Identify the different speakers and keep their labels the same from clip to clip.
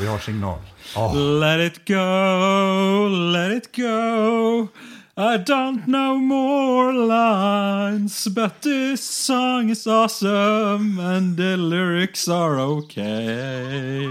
Speaker 1: vi har signal.
Speaker 2: Let it go, let it go I don't know more lines But this song is awesome And the lyrics are okay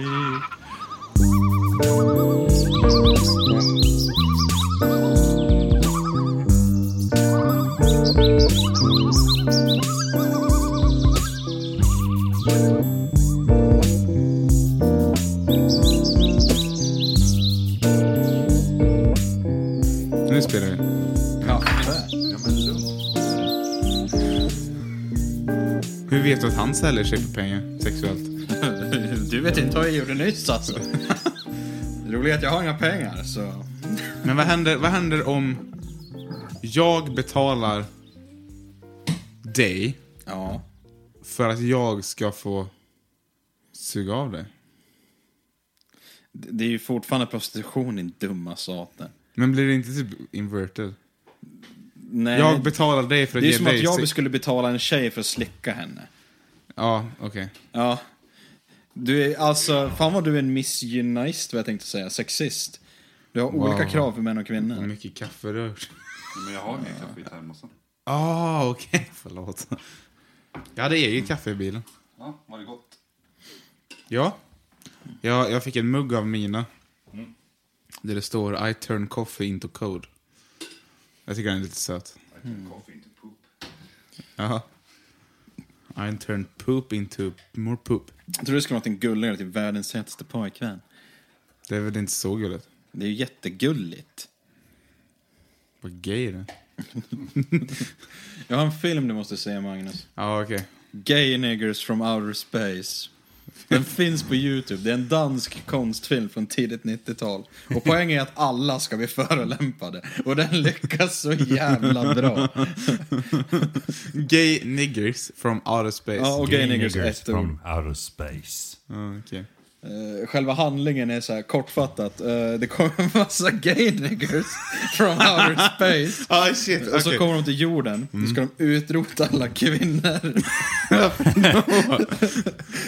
Speaker 3: Nu spelar vi. Hur vet du att han säljer sig för pengar sexuellt?
Speaker 2: Du vet inte vad jag gjorde nyss alltså. Det roliga är att jag har inga pengar så...
Speaker 3: Men vad händer, vad händer om jag betalar dig
Speaker 2: Ja.
Speaker 3: för att jag ska få suga av dig?
Speaker 2: Det är ju fortfarande prostitution din dumma satan.
Speaker 3: Men blir det inte typ inverted?
Speaker 2: Nej.
Speaker 3: Jag betalar dig för att
Speaker 2: det är
Speaker 3: ge
Speaker 2: som att
Speaker 3: dig...
Speaker 2: jag
Speaker 3: sex-
Speaker 2: skulle betala en tjej för att slicka henne.
Speaker 3: Ja, okej.
Speaker 2: Ja. Du är alltså, fan vad du är en misgynist vad jag tänkte säga, sexist. Du har olika krav för män och
Speaker 3: Vad
Speaker 2: kvinnor.
Speaker 3: mycket kaffe rör.
Speaker 1: Men jag har ingen kaffe i termosen.
Speaker 3: Ah, okej. Förlåt. Jag hade eget kaffe i bilen.
Speaker 1: Ja, var det gott?
Speaker 3: Ja. Jag, jag fick en mugg av Mina. Där det står I turn coffee into code. Jag tycker den är lite söt.
Speaker 1: Mm. Coffee into poop.
Speaker 3: Jaha. I turn poop into more poop.
Speaker 2: Jag tror du skulle ha något gulligare till världens hetaste pojkvän.
Speaker 3: Det är väl inte så gulligt?
Speaker 2: Det är ju jättegulligt.
Speaker 3: Vad gay det är.
Speaker 2: Jag har en film du måste se Magnus.
Speaker 3: Ja, okej.
Speaker 2: Gay Niggers from Outer Space. Den finns på Youtube. Det är en dansk konstfilm från tidigt 90-tal. Och poängen är att alla ska bli förolämpade. Och den lyckas så jävla bra.
Speaker 3: Gay niggers from outer space.
Speaker 2: Ja, och gay niggers är ett ord.
Speaker 1: from outer space.
Speaker 3: Ja, okej.
Speaker 2: Eh, Själva handlingen är så här kortfattat. Eh, Det kommer en massa gay niggers from outer space.
Speaker 3: Ah, shit.
Speaker 2: Och så kommer de till jorden.
Speaker 3: Mm.
Speaker 2: Då ska de utrota alla kvinnor.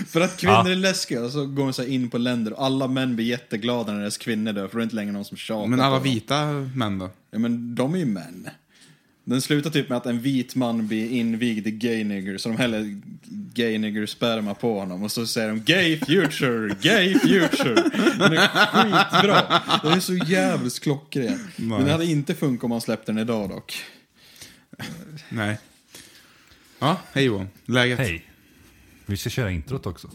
Speaker 2: för att kvinnor
Speaker 1: Ja.
Speaker 3: Ah.
Speaker 2: är läskiga så går de så här in på länder och alla män blir jätteglada när deras kvinnor dör för då är det inte längre någon som tjatar.
Speaker 3: Men alla
Speaker 2: på dem.
Speaker 3: vita män då?
Speaker 2: Ja men de är ju män. Den slutar typ med att en vit man blir invigd i gay nigger så de häller gay nigger sperma på honom och så säger de gay future, gay future. Den är skitbra. Den är så jävligt klockren. Men den hade inte funkat om man släppte den idag dock.
Speaker 3: Nej. Ja, hej Johan. Läget?
Speaker 1: Hej. Vi ska köra introt också.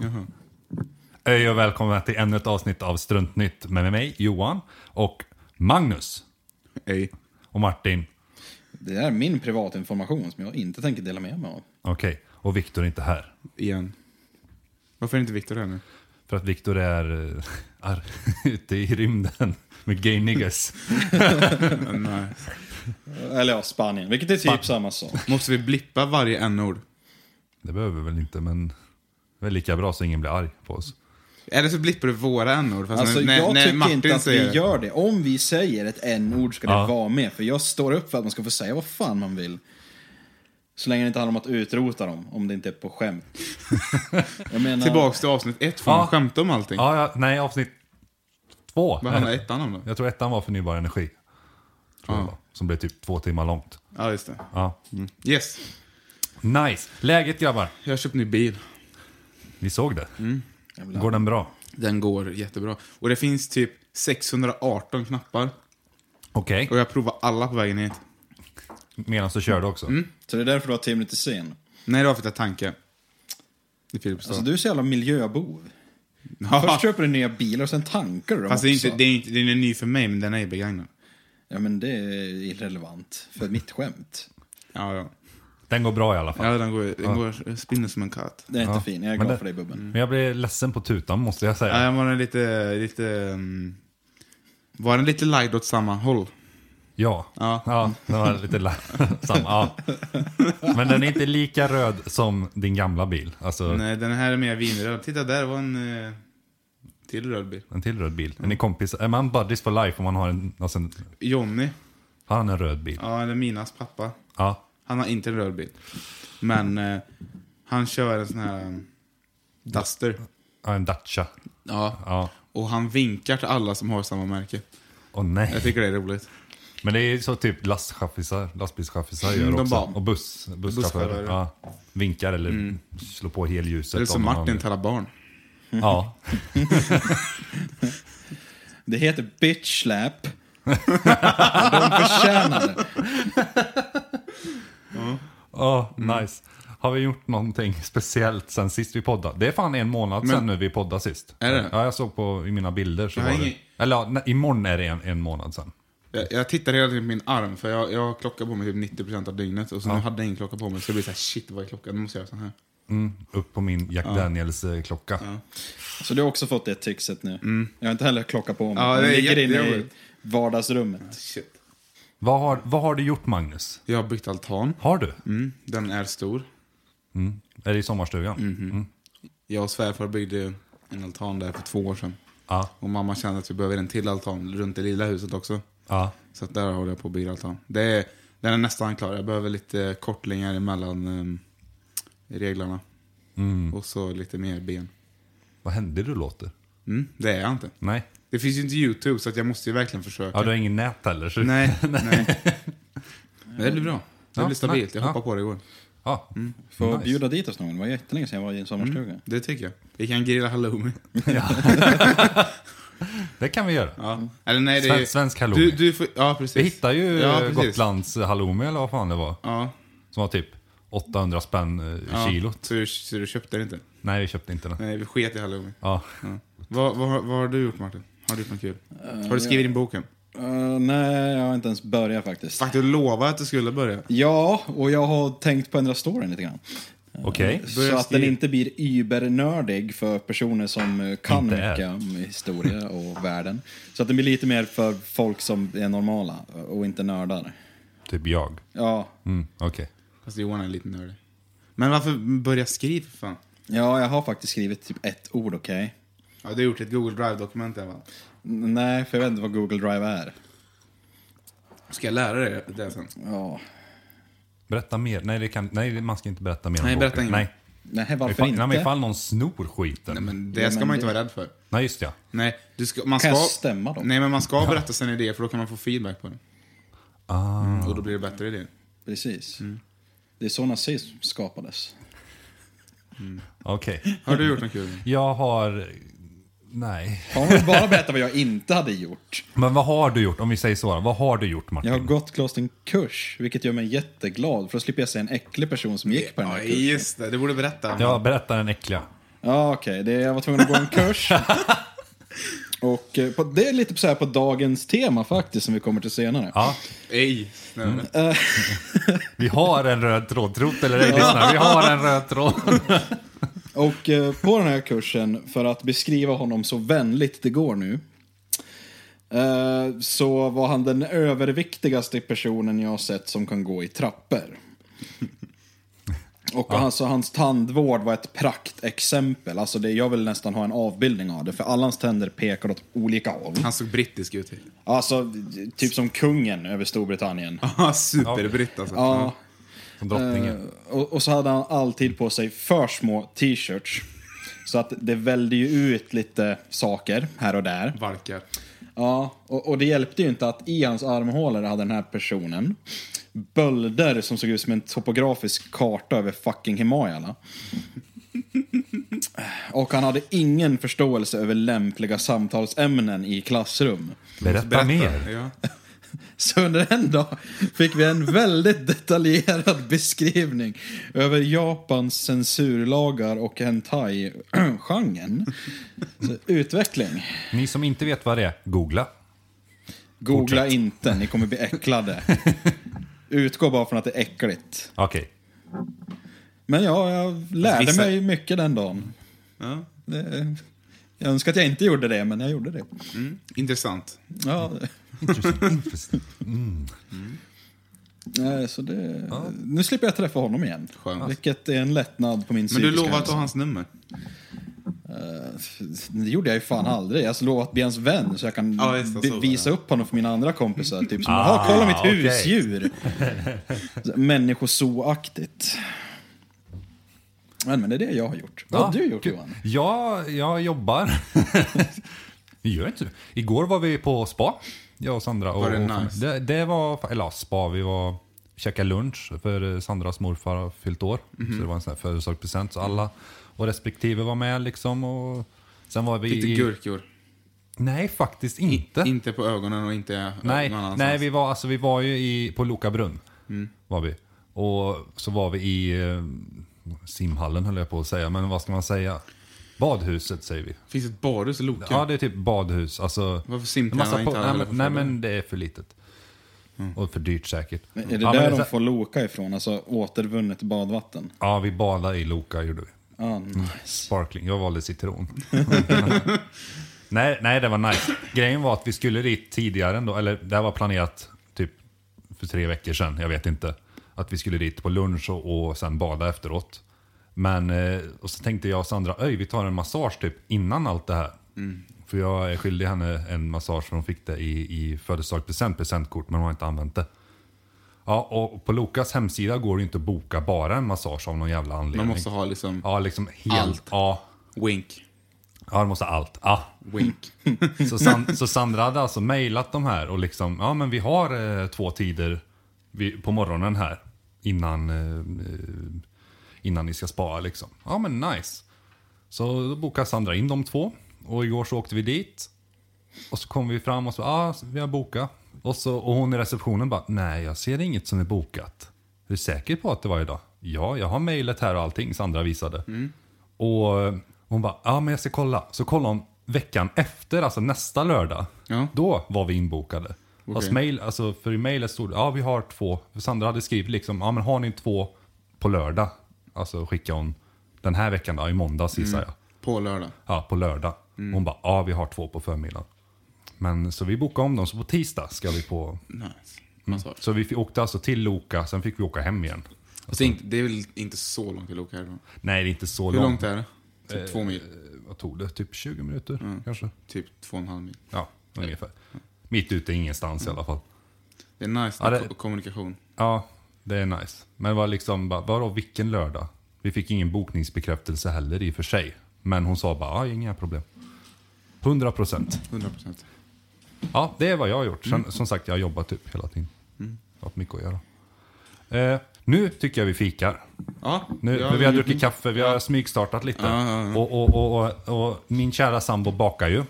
Speaker 3: Jaha.
Speaker 1: Hej och välkomna till ännu ett avsnitt av Struntnytt med mig, Johan och Magnus
Speaker 3: Hej.
Speaker 1: och Martin.
Speaker 2: Det är min privatinformation som jag inte tänker dela med mig av.
Speaker 1: Okej, och Viktor är inte här.
Speaker 3: Igen. Varför är inte Viktor här nu?
Speaker 1: För att Viktor är eh, ar- ute i rymden med gay niggas.
Speaker 3: Nej.
Speaker 2: Eller ja, Spanien, vilket är typ samma sak.
Speaker 3: Måste vi blippa varje n-ord?
Speaker 1: Det behöver vi väl inte, men det är lika bra så ingen blir arg på oss.
Speaker 3: Eller så blippar du våra n-ord. fast
Speaker 2: Alltså, jag tycker inte att
Speaker 3: säger-
Speaker 2: vi gör det. Om vi säger ett n-ord ska det
Speaker 1: Ja.
Speaker 2: vara med. För jag står upp för att man ska få säga vad fan man vill. Så länge det inte handlar om att utrota dem, om det inte är på skämt. Jag menar,
Speaker 3: Tillbaks till avsnitt ett, får man
Speaker 1: Ja.
Speaker 3: skämta om allting?
Speaker 1: Ja, ja, nej, avsnitt två.
Speaker 3: Vad handlar ettan om då?
Speaker 1: Jag tror ettan var förnybar energi. Tror jag det var, som blev typ två timmar långt.
Speaker 3: Ja, just det.
Speaker 1: Ja.
Speaker 3: Yes.
Speaker 1: Nice! Läget grabbar?
Speaker 3: Jag har köpt ny bil.
Speaker 1: Vi såg det.
Speaker 3: Mm.
Speaker 1: Går den bra?
Speaker 3: Den går jättebra. Och det finns typ 618 knappar.
Speaker 1: Okej,
Speaker 3: Och jag provar alla på vägen hit.
Speaker 1: medan du körde också.
Speaker 3: Mm.
Speaker 2: Så det är därför du har 10 minuter sen.
Speaker 3: Nej, det var för att jag tankade. I Filipstad.
Speaker 2: Alltså du är så jävla miljöbov. Först köper du nya bilar och sen tankar du dem
Speaker 3: Fast det är inte,
Speaker 2: också.
Speaker 3: det är inte, den är ny för mig, men den är ju begagnad.
Speaker 2: Ja men det är irrelevant för mitt skämt.
Speaker 3: Ja, ja.
Speaker 1: Den går bra i alla fall.
Speaker 3: Ja, den går, den går spinner som en katt.
Speaker 2: Den är
Speaker 1: Ja,
Speaker 2: inte fin, jag är
Speaker 1: men
Speaker 2: glad
Speaker 1: det-
Speaker 2: för dig Bubben.
Speaker 1: Men jag blir ledsen på tutan måste jag säga.
Speaker 3: Ja, den var den lite, lite... mm, Var den lite lagd åt samma håll?
Speaker 1: Ja,
Speaker 3: Ja.
Speaker 1: ja den var lite la- samma. Ja. Men den är inte lika röd som din gamla bil. Alltså
Speaker 3: Nej, den här är mer vinröd. Titta, där var en eh, till röd bil.
Speaker 1: en till röd bil. Är, ni kompis, är man buddies for life om man har en, alltså en,
Speaker 3: Jonny,
Speaker 1: har han en röd bil?
Speaker 3: ja, eller Minas pappa.
Speaker 1: Ja.
Speaker 3: Han har inte en röd bil. Men eh, han kör en sån här eh, Duster.
Speaker 1: Ja, en Dacia.
Speaker 3: Ja.
Speaker 1: Ja.
Speaker 3: Och han vinkar till alla som har samma märke.
Speaker 1: Åh nej.
Speaker 3: Jag tycker det är roligt.
Speaker 1: Men det är ju så typ lastchaffisar, lastbilschaffisar
Speaker 3: Mm,
Speaker 1: gör
Speaker 3: de
Speaker 1: också.
Speaker 3: bara-
Speaker 1: och buss, busschaufförer.
Speaker 3: Busschaufförer.
Speaker 1: Ja. Vinkar eller slår på helljuset.
Speaker 3: Det är som
Speaker 1: om man-
Speaker 3: Martin till alla barn.
Speaker 1: Ja.
Speaker 2: Det heter bitch slap. De förtjänar det.
Speaker 1: Ja,
Speaker 3: Mm.
Speaker 1: nice. Har vi gjort någonting speciellt sen sist vi poddade? Det är fan en månad sen nu vi poddade sist.
Speaker 3: Är det?
Speaker 1: Ja, jag såg på i mina bilder så
Speaker 3: Jag
Speaker 1: var
Speaker 3: har
Speaker 1: det.
Speaker 3: ingen-
Speaker 1: Eller ja, nej, imorgon är det en, en månad sen.
Speaker 3: Jag, jag tittar hela tiden på min arm, för jag, jag klockar på mig typ 90% av dygnet. Och så nu hade jag ingen klocka på mig, så det blir så här shit, vad är klockan? Nu måste jag göra så här.
Speaker 1: Mm, upp på min Jack Daniels-klocka.
Speaker 2: Så du har också fått det tipset nu. Jag har inte heller klocka på mig.
Speaker 3: Ja,
Speaker 2: Den
Speaker 3: det är
Speaker 2: ligger inne i
Speaker 3: jättejobbigt.
Speaker 2: vardagsrummet.
Speaker 3: Shit.
Speaker 1: Vad, har, vad har du gjort Magnus?
Speaker 3: Jag har byggt altan.
Speaker 1: Har du?
Speaker 3: Mm, den är stor.
Speaker 1: Mm. Är det i sommarstugan?
Speaker 3: Mhm. Jag och svärfar byggde en altan där för två år sedan.
Speaker 1: Ja,
Speaker 3: Och mamma kände att vi behöver en till altan runt det lilla huset också.
Speaker 1: ja.
Speaker 3: Så att där håller jag på att bygga altan. Det är, den är nästan klar. Jag behöver lite kortlingar emellan um, reglarna.
Speaker 1: Mm.
Speaker 3: Och så lite mer ben.
Speaker 1: Vad hände du låter?
Speaker 3: Mm, det är jag inte.
Speaker 1: Nej.
Speaker 3: Det finns ju inte YouTube så att jag måste ju verkligen försöka.
Speaker 1: Ja, du har ingen nät heller. Så...
Speaker 3: Nej, nej. Men Det blir bra. Det
Speaker 1: Ja,
Speaker 3: blir stabilt. Jag
Speaker 1: nej,
Speaker 3: hoppade på det igår.
Speaker 1: Ja.
Speaker 2: Får
Speaker 1: Nice.
Speaker 2: bjuda dit oss någon. Det var jättelänge sedan jag var i en sommarstuga.
Speaker 3: Det tycker jag. Vi kan grilla halloumi.
Speaker 1: Det kan vi göra.
Speaker 3: Ja. Eller nej, det är
Speaker 1: Sven- svensk halloumi.
Speaker 3: Du, du får, ja, precis.
Speaker 1: Vi hittar ju
Speaker 3: Ja,
Speaker 1: eh,
Speaker 3: precis.
Speaker 1: Gotlands halloumi eller vad fan det var.
Speaker 3: Ja,
Speaker 1: Som var typ 800 spänn eh,
Speaker 3: ja.
Speaker 1: kilot.
Speaker 3: Så du, så du köpte den inte?
Speaker 1: Nej, vi köpte inte den.
Speaker 3: Nej, vi sket i halloumi.
Speaker 1: Ja.
Speaker 3: Ja. Vad, vad, har- vad har du gjort Martin? Har du gjort något kul? Har du skrivit din boken?
Speaker 2: Eh, nej, jag har inte ens börjat faktiskt.
Speaker 3: Fuck, du lovade att du skulle börja.
Speaker 2: Ja, och jag har tänkt på att ändra storyn lite grann.
Speaker 1: Okej.
Speaker 3: Mm.
Speaker 2: Så att den inte blir übernördig för personer som eh, kan
Speaker 1: Inte är.
Speaker 2: mycket om historia och världen. Så att den blir lite mer för folk som är normala och inte nördar.
Speaker 1: Typ jag.
Speaker 2: Ja,
Speaker 1: Mm, Okej.
Speaker 3: Fast Johan är lite nördig. Men varför börja skriva för fan?
Speaker 2: ja jag har faktiskt skrivit typ ett ord, okej?
Speaker 3: Ja, du har gjort ett Google Drive-dokument i alla fall.
Speaker 2: N- Nej, för jag vet inte vad Google Drive är.
Speaker 3: Ska jag lära dig det sen?
Speaker 2: Ja.
Speaker 1: Berätta mer. Nej, det kan, nej, man ska inte berätta mer om
Speaker 3: Nej,
Speaker 1: boken.
Speaker 3: berätta inget.
Speaker 1: Nej,
Speaker 2: Nej, varför
Speaker 1: ifall,
Speaker 2: inte?
Speaker 1: nej, men ifall någon snor skiten.
Speaker 3: Nej,
Speaker 1: Nej,
Speaker 3: men det
Speaker 2: Ja,
Speaker 3: ska
Speaker 2: men
Speaker 3: man inte
Speaker 2: det-
Speaker 3: vara rädd för.
Speaker 1: just ja.
Speaker 3: Nej, du ska, man ska...
Speaker 2: Kan jag stämma dem?
Speaker 3: Nej, men man ska berätta sina idéer för då kan man få feedback på det.
Speaker 1: Ah,
Speaker 3: Och då blir det bättre idéer.
Speaker 2: Precis. Det är så nazism skapades.
Speaker 1: Okej.
Speaker 3: Har du gjort något kul?
Speaker 1: Jag har... Nej.
Speaker 2: Har man bara berättat vad jag inte hade gjort?
Speaker 1: Men vad har du gjort? Om vi säger så. Vad har du gjort
Speaker 2: Jag
Speaker 1: Martin?
Speaker 2: har gått klart en kurs, vilket gör mig jätteglad. För då slipper jag se en äcklig person som gick på den här
Speaker 3: Ja,
Speaker 2: kursen.
Speaker 3: just det. Du borde berätta.
Speaker 1: Ja, berätta den äckliga.
Speaker 2: Ja, okej. det Jag var tvungen att gå en kurs. Och eh, på, det är lite så här på dagens tema faktiskt, som vi kommer till senare.
Speaker 1: Ja.
Speaker 3: Ej. Nej,
Speaker 1: Mm.
Speaker 3: men-
Speaker 1: Vi har en röd tråd. Trot eller ej, lyssna. Vi har en röd tråd.
Speaker 2: Och eh, på den här kursen, för att beskriva honom så vänligt det går nu, eh, så var han den överviktigaste personen jag har sett som kan gå i trappor. Och alltså, hans tandvård var ett praktexempel. Alltså det, jag vill nästan ha en avbildning av det, för alla hans tänder pekar åt olika håll.
Speaker 3: Han såg brittisk ut.
Speaker 2: Alltså, typ som kungen över Storbritannien.
Speaker 3: Ja, superbritt alltså.
Speaker 2: Ja,
Speaker 1: Som drottningen.
Speaker 2: Eh, och, och så hade han alltid på sig för små t-shirts. Så att det välde ju ut lite saker här och där.
Speaker 3: Valkar.
Speaker 2: Ja, och, och det hjälpte ju inte att i hans armhålor hade den här personen bölder som såg ut som en topografisk karta över fucking Himalaya. Och han hade ingen förståelse över lämpliga samtalsämnen i klassrum.
Speaker 1: Berätta, mer.
Speaker 3: Ja.
Speaker 2: Så under en dag fick vi en väldigt detaljerad beskrivning över Japans censurlagar och hentai-genren. Så, Utveckling.
Speaker 1: Ni som inte vet vad det är, googla.
Speaker 2: Googla inte, ni kommer bli äcklade. Utgå bara från att det är äckligt.
Speaker 1: Okej.
Speaker 2: Men ja, jag lärde
Speaker 3: Vissa-
Speaker 2: mig mycket den dagen.
Speaker 3: Ja.
Speaker 2: Det- Jag önskar att jag inte gjorde det, men jag gjorde det.
Speaker 3: Mm. Intressant.
Speaker 2: Ja,
Speaker 1: Intressant. intressant.
Speaker 2: eh, så det... Nu slipper jag träffa honom igen.
Speaker 3: Skönt.
Speaker 2: Vilket är en lättnad på min
Speaker 3: Men du
Speaker 2: psykiska
Speaker 3: lovade att
Speaker 2: hälsa.
Speaker 3: ta hans nummer.
Speaker 2: Det gjorde jag ju fan aldrig. Jag lovade att bli hans vän så jag kan
Speaker 3: Ja, just det,
Speaker 2: be-
Speaker 3: så var det.
Speaker 2: visa upp honom för mina andra kompisar. Typ som, jaha, kolla mitt
Speaker 1: okej.
Speaker 2: husdjur. Människozoaktigt. Men, men det är det jag har gjort. Vad har du gjort Johan?
Speaker 1: Ja, jag jobbar. Det gör inte du. Igår var vi på spa, jag och Sandra. Och
Speaker 3: Var det
Speaker 1: och-
Speaker 3: nice?
Speaker 1: det, det var, eller ja, spa, vi var käkade lunch för eh, Sandras morfar har fyllt år. Så det var en sån här födelsedagspresent. Så alla och respektive var med liksom. Och sen var vi
Speaker 3: Lite
Speaker 1: i-
Speaker 3: gurkor.
Speaker 1: Nej, faktiskt inte.
Speaker 3: Inte på ögonen och inte
Speaker 1: Nej,
Speaker 3: någon annanstans.
Speaker 1: nej vi, var, alltså, vi var ju i, på Loka brunn. Var vi. Och så var vi i eh, simhallen höll jag på att säga, men vad ska man säga? Badhuset säger vi.
Speaker 3: Finns ett badhus i Loka?
Speaker 1: Ja, det är typ badhus. Alltså,
Speaker 3: Typ. Varför
Speaker 1: en massa
Speaker 3: simtränar
Speaker 1: på,
Speaker 3: inte
Speaker 1: nej,
Speaker 3: alla?
Speaker 1: men, nej, men det är för litet. Och för dyrt säkert.
Speaker 2: Men Är det
Speaker 1: ja, men
Speaker 2: där
Speaker 1: så-
Speaker 2: de får Loka ifrån? Alltså återvunnet badvatten?
Speaker 1: ja, vi badade i Loka gjorde vi.
Speaker 2: Ja, nice.
Speaker 1: Sparkling, jag valde citron. nej, nej, det var nice. Grejen var att vi skulle dit tidigare ändå, eller det här var planerat typ för tre veckor sedan, jag vet inte. Att vi skulle dit på lunch och, och sen bada efteråt. Men, eh, och så tänkte jag och Sandra, öj vi tar en massage typ innan allt det här.
Speaker 3: Mm.
Speaker 1: För jag är skyldig henne en massage för hon fick det i, i födelsedagspresent, presentkort, men hon har inte använt det. Ja, och på Lokas hemsida går det ju inte att boka bara en massage av någon jävla anledning.
Speaker 3: Man måste ha liksom
Speaker 1: Ja, liksom helt.
Speaker 3: Allt.
Speaker 1: Ja,
Speaker 3: wink,
Speaker 1: ja de måste ha allt. Ja.
Speaker 3: wink.
Speaker 1: Så, San, så Sandra hade alltså mejlat de här och liksom, ja men vi har eh, två tider vi, på morgonen här innan, eh, eh, innan ni ska spara liksom. Ja men nice. Så då bokade Sandra in de två och igår så åkte vi dit. Och så kom vi fram och så, ja ah, vi har bokat. Och, så, och hon i receptionen bara, nej jag ser inget som är bokat. Är du säker på att det var idag? Ja, jag har mejlet här och allting Sandra visade. Och eh, hon bara, ja men jag ska kolla. Så kollade hon veckan efter, alltså nästa lördag.
Speaker 3: Ja.
Speaker 1: Då var vi inbokade. Fast mail, alltså för i mejlet stod det, ja vi har två. För Sandra hade skrivit liksom, ja men har ni två på lördag? Alltså skickade hon den här veckan då, i måndags gissar jag.
Speaker 3: På lördag.
Speaker 1: Ja, på lördag.
Speaker 3: Mm.
Speaker 1: Hon bara, ja vi har två på förmiddagen. Men så vi bokade om dem, så på tisdag ska vi på...
Speaker 3: Nice.
Speaker 1: Mm.
Speaker 3: Massage.
Speaker 1: Så vi fi- åkte alltså till Loka, sen fick vi åka hem igen.
Speaker 3: Fast det är, inte, det är väl inte så långt till Loka härifrån?
Speaker 1: Nej, det är inte så
Speaker 3: Hur
Speaker 1: långt. Eh,
Speaker 3: långt är det? Typ två mil?
Speaker 1: Vad tog det? Typ 20 minuter kanske?
Speaker 3: Typ två och en halv mil.
Speaker 1: Ja, ungefär. Mitt ute i ingenstans i alla fall.
Speaker 3: Det är nice
Speaker 1: Ja,
Speaker 3: ja,
Speaker 1: det-
Speaker 3: kommunikation.
Speaker 1: Ja, det är nice. Men det var liksom, bara, vadå vilken lördag? Vi fick ingen bokningsbekräftelse heller i och för sig. Men hon sa bara, ja inga problem. 100 procent.
Speaker 3: 100%.
Speaker 1: Ja, det är vad jag har gjort. Sen,
Speaker 3: Mm.
Speaker 1: Som sagt, jag har jobbat typ hela tiden. Haft mycket att göra. Eh, nu tycker jag vi fikar.
Speaker 3: Ja,
Speaker 1: Nu,
Speaker 3: ja,
Speaker 1: för vi har druckit kaffe, vi har smygstartat lite.
Speaker 3: Ja, ja, ja.
Speaker 1: Och, och, och, och, och min kära sambo bakar ju.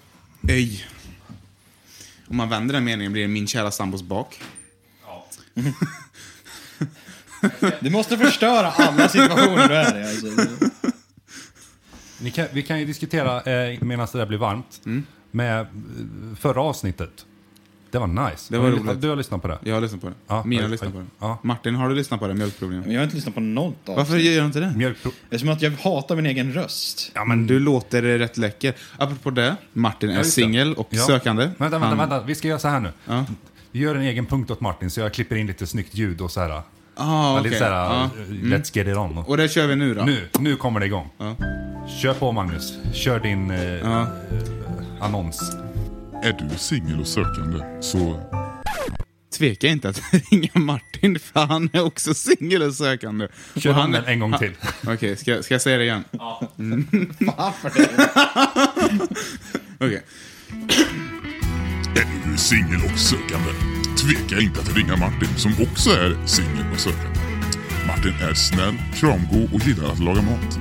Speaker 3: Ej. Om man vänder den meningen blir det min kära sambos bak.
Speaker 2: Du måste förstöra alla situationer du är i. Alltså.
Speaker 1: Ni kan, vi kan ju diskutera, eh, medan det där blir varmt,
Speaker 3: Mm.
Speaker 1: med eh, förra avsnittet. Det var nice.
Speaker 3: Det var
Speaker 1: Har du-
Speaker 3: roligt.
Speaker 1: Du har lyssnat på det?
Speaker 3: Jag har lyssnat på det.
Speaker 1: Ja,
Speaker 3: Mina
Speaker 1: oj,
Speaker 3: har lyssnat
Speaker 1: oj.
Speaker 3: på det.
Speaker 1: Ja. Eh,
Speaker 3: Martin, har du lyssnat på det? Mjölkproblemet.
Speaker 2: Men jag har inte lyssnat på något av
Speaker 3: Varför
Speaker 2: det.
Speaker 3: gör du inte det?
Speaker 1: Mjölkpro...
Speaker 2: Eftersom att jag hatar min egen röst.
Speaker 1: Ja,
Speaker 3: Men
Speaker 1: men
Speaker 3: du låter rätt läcker. Apropå det, Martin är
Speaker 1: just det.
Speaker 3: singel och
Speaker 1: Mm. Ja.
Speaker 3: sökande.
Speaker 1: Vänta, vänta,
Speaker 3: Han-
Speaker 1: vänta. Vi ska göra så här nu.
Speaker 3: Ja.
Speaker 1: Vi gör en egen punkt åt Martin, så jag klipper in lite snyggt ljud och så här.
Speaker 3: Ah,
Speaker 1: Ja,
Speaker 3: okej.
Speaker 1: Lite såhär,
Speaker 3: Ja. Mm.
Speaker 1: let's get it on.
Speaker 3: Och det kör vi nu då.
Speaker 1: Nu, nu kommer det igång.
Speaker 3: Ja.
Speaker 1: Kör på Magnus. Kör din eh, eh, annons.
Speaker 4: Är du singel och sökande så
Speaker 3: Tveka inte att ringa Martin, för han är också singel och sökande.
Speaker 1: Kör
Speaker 3: och
Speaker 1: om
Speaker 3: han
Speaker 1: den en gång till.
Speaker 3: Okej, ska, jag- ska jag säga det igen? Mm.
Speaker 2: Varför det?
Speaker 3: Okej.
Speaker 4: är du singel och sökande. Tveka inte att ringa Martin som också är singel och sökande. Martin är snäll, kramgod och gillar att laga mat.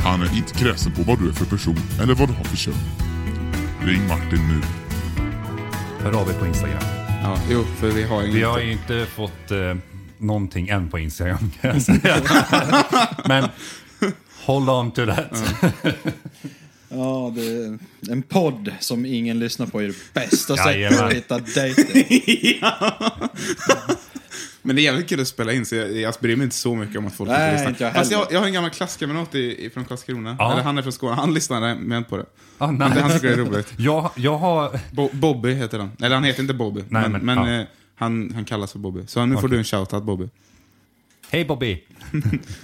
Speaker 4: Han är inte kräsen på vad du är för person eller vad du har för kön. Ring Martin nu.
Speaker 1: Hör av er på Instagram.
Speaker 3: Ja, jo, för vi har inget.
Speaker 1: Vi har ju inte fått eh, någonting än på Instagram kan jag säga. Men hold on to that.
Speaker 2: Ja, det är en podd som ingen lyssnar på är det bästa sättet
Speaker 1: Jajamän.
Speaker 2: att hitta dejter.
Speaker 3: Men det är jävligt kul att spela in, så jag, jag bryr mig inte så mycket om att folk
Speaker 2: Nej,
Speaker 3: lyssnar.
Speaker 2: inte jag
Speaker 3: Fast
Speaker 2: heller.
Speaker 3: jag, jag har en gammal klasskamrat i, i, från Karlskrona.
Speaker 1: Ja.
Speaker 3: Eller han är från Skåne. Han lyssnar med på det.
Speaker 1: Ah,
Speaker 3: Han, han
Speaker 1: nej.
Speaker 3: tycker det är roligt.
Speaker 1: Jag, jag har...
Speaker 3: Bo, Bobby heter han. Eller han heter inte Bobby.
Speaker 1: Nej,
Speaker 3: men
Speaker 1: men- ja.
Speaker 3: eh, han, han kallas för Bobby. Så nu får du en shoutout Bobby.
Speaker 1: Hej Bobby!
Speaker 2: Ja,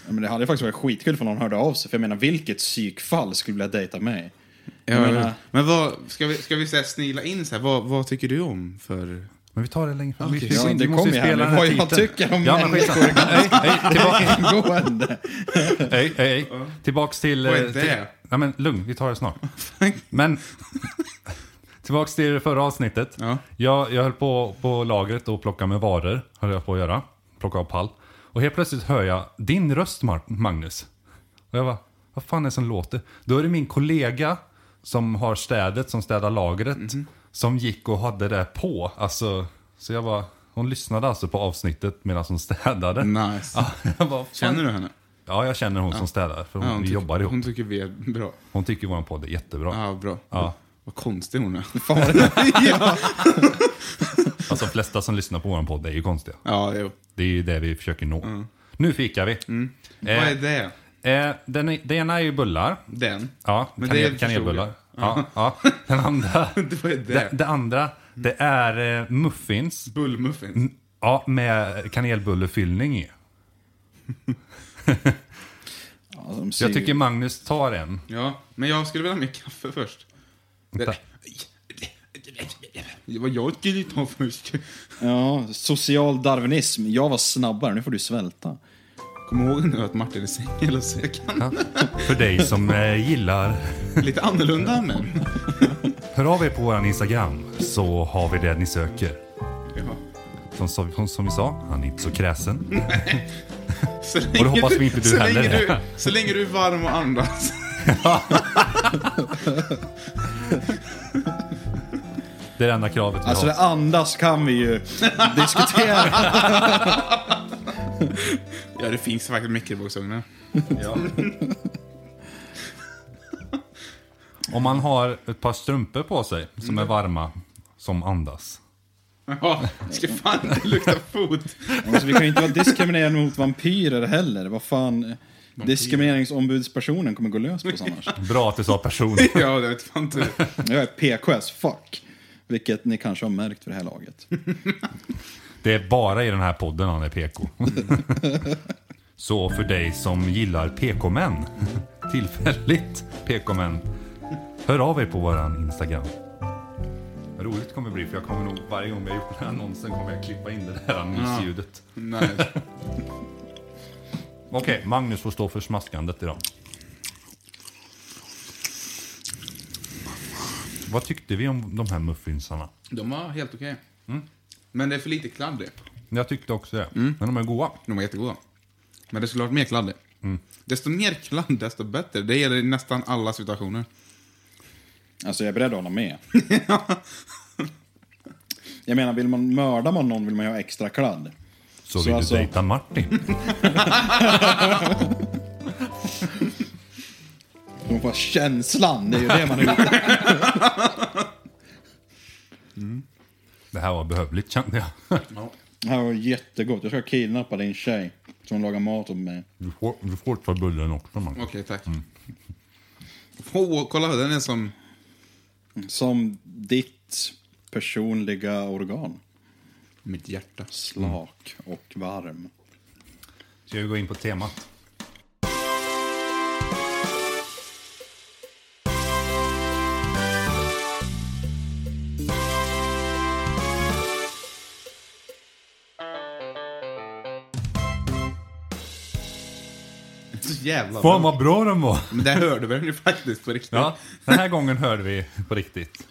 Speaker 2: Men det hade ju faktiskt varit skitkul för någon hörde av sig. För jag menar, vilket psykfall skulle vilja dejta mig?
Speaker 3: Ja,
Speaker 2: menar-
Speaker 3: men vad, ska vi, ska vi så här snila in så här, vad, vad tycker du om för
Speaker 1: Men vi tar det längre fram. Vi-
Speaker 3: Okej.
Speaker 1: vi-
Speaker 2: Ja,
Speaker 1: vi
Speaker 2: det
Speaker 1: måste ju
Speaker 2: kom ju här
Speaker 1: spela den här
Speaker 2: med vad jag
Speaker 1: titeln.
Speaker 2: tycker om
Speaker 1: ja, men
Speaker 2: människor.
Speaker 1: skitsamma. Nej, nej, tillbaka,
Speaker 2: Gående.
Speaker 1: nej, nej, nej. Tillbaks till...
Speaker 3: Vad är
Speaker 1: eh,
Speaker 3: det?
Speaker 1: till nej, men lugn, vi tar det snart. Men... Tillbaks till det förra avsnittet.
Speaker 3: Ja.
Speaker 1: Jag, jag höll på på lagret och plockade med varor. Höll jag på att göra. Plocka av pall. Och helt plötsligt hör jag din röst Mar- Magnus. Och jag bara, vad fan är det som låter? Då är det min kollega som har städet, som städar lagret.
Speaker 3: Mhm.
Speaker 1: Som gick och hade det på. Alltså, så jag bara, hon lyssnade alltså på avsnittet medan hon städade.
Speaker 3: Nice.
Speaker 1: Ja, jag bara, fan.
Speaker 3: Känner du henne?
Speaker 1: ja, jag känner hon som städar. För hon,
Speaker 3: Ja,
Speaker 1: vi
Speaker 3: tycker-
Speaker 1: jobbar ihop.
Speaker 3: Hon tycker vi är bra.
Speaker 1: Hon tycker vår podd är jättebra.
Speaker 3: Ja, bra.
Speaker 1: Ja.
Speaker 3: Vad konstig hon är.
Speaker 1: Alltså de flesta som lyssnar på vår podd är ju konstiga.
Speaker 3: Ja, jo.
Speaker 1: Det är ju det vi försöker nå. Nu fikar vi. Eh,
Speaker 3: Mm. Vad är det?
Speaker 1: Eh, den, är- det ena är ju bullar.
Speaker 3: Den?
Speaker 1: Ja,
Speaker 3: Men det
Speaker 1: kanel,
Speaker 3: förstod
Speaker 1: kanelbullar. Ja, ja. Den andra,
Speaker 3: Vad
Speaker 1: det,
Speaker 3: är det?
Speaker 1: det andra, det är eh, muffins. Mm.
Speaker 3: Bullmuffins?
Speaker 1: Ja, med kanelbullefyllning i.
Speaker 2: Ja, de ser
Speaker 1: Jag tycker
Speaker 2: ju-
Speaker 1: Magnus tar en.
Speaker 3: Ja, men jag skulle vilja ha mer kaffe först.
Speaker 1: Vänta.
Speaker 3: Det var jag skulle ta först.
Speaker 2: Ja, social darwinism. Jag var snabbare, nu får du svälta.
Speaker 3: Kom ihåg nu att Martin är singelsökande.
Speaker 1: Ja. För dig som eh, gillar.
Speaker 3: Lite annorlunda men.
Speaker 1: Hör av er på vår Instagram så har vi det ni söker.
Speaker 3: Ja.
Speaker 1: Som, som, som vi sa, han är inte så kräsen.
Speaker 3: Så länge
Speaker 1: Och det hoppas vi inte du
Speaker 3: så
Speaker 1: heller
Speaker 3: länge
Speaker 1: är.
Speaker 3: du, så länge du är varm och andas.
Speaker 1: Det är det enda kravet vi
Speaker 2: Alltså
Speaker 1: har.
Speaker 2: det andas kan vi ju diskutera.
Speaker 3: Ja, det finns faktiskt mikrovågsugnar.
Speaker 1: Om man har ett par strumpor på sig som är varma, som andas.
Speaker 3: Ja, ska fan inte lukta fot.
Speaker 2: Alltså, vi kan ju inte vara diskriminerande mot vampyrer heller. Vad fan. Diskrimineringsombudspersonen kommer gå lös på oss annars.
Speaker 1: Bra att du sa person.
Speaker 3: Ja, det vet fan tur.
Speaker 2: Jag är PKS, fuck. Vilket ni kanske har märkt för det här laget.
Speaker 1: Det är bara i den här podden han är PK. Så för dig som gillar PK-män, tillfälligt PK-män, hör av er på våran Instagram. Vad roligt kommer det bli, för jag kommer nog varje gång jag har gjort den här annonsen kommer jag klippa in det där mysljudet.
Speaker 3: Nej.
Speaker 1: Okej, Magnus får stå för smaskandet idag. Vad tyckte vi om de här muffinsarna?
Speaker 3: De var helt okej.
Speaker 1: Mm.
Speaker 3: Men det är för lite kladd i.
Speaker 1: Jag tyckte också det, men de är goda.
Speaker 3: De var jättegoda. Men det skulle varit mer kladd i.
Speaker 1: Mm.
Speaker 3: Desto mer kladd, desto bättre. Det gäller i nästan alla situationer.
Speaker 2: Alltså jag är beredd att hålla med. Jag menar, vill man mörda man någon vill man ju ha extra kladd.
Speaker 1: Så
Speaker 2: Så
Speaker 1: vill
Speaker 2: alltså-
Speaker 1: du dejta Martin?
Speaker 2: De får ha känslan, det är ju det man är ute efter.
Speaker 1: Det här var behövligt kände jag.
Speaker 2: Det här var jättegott. Jag ska kidnappa din tjej som lagar mat åt mig.
Speaker 1: Du får, du får ta bullen också man.
Speaker 3: Okej, tack. Åh, kolla, den är som...
Speaker 2: Som ditt personliga organ.
Speaker 3: Mitt hjärta.
Speaker 2: Slak och varm.
Speaker 1: Ska vi gå in på temat?
Speaker 3: Så jävla
Speaker 1: Fan
Speaker 3: bra.
Speaker 1: vad bra den var!
Speaker 3: Men det hörde vi den ju faktiskt på riktigt.
Speaker 1: Ja, den här gången hörde vi på riktigt.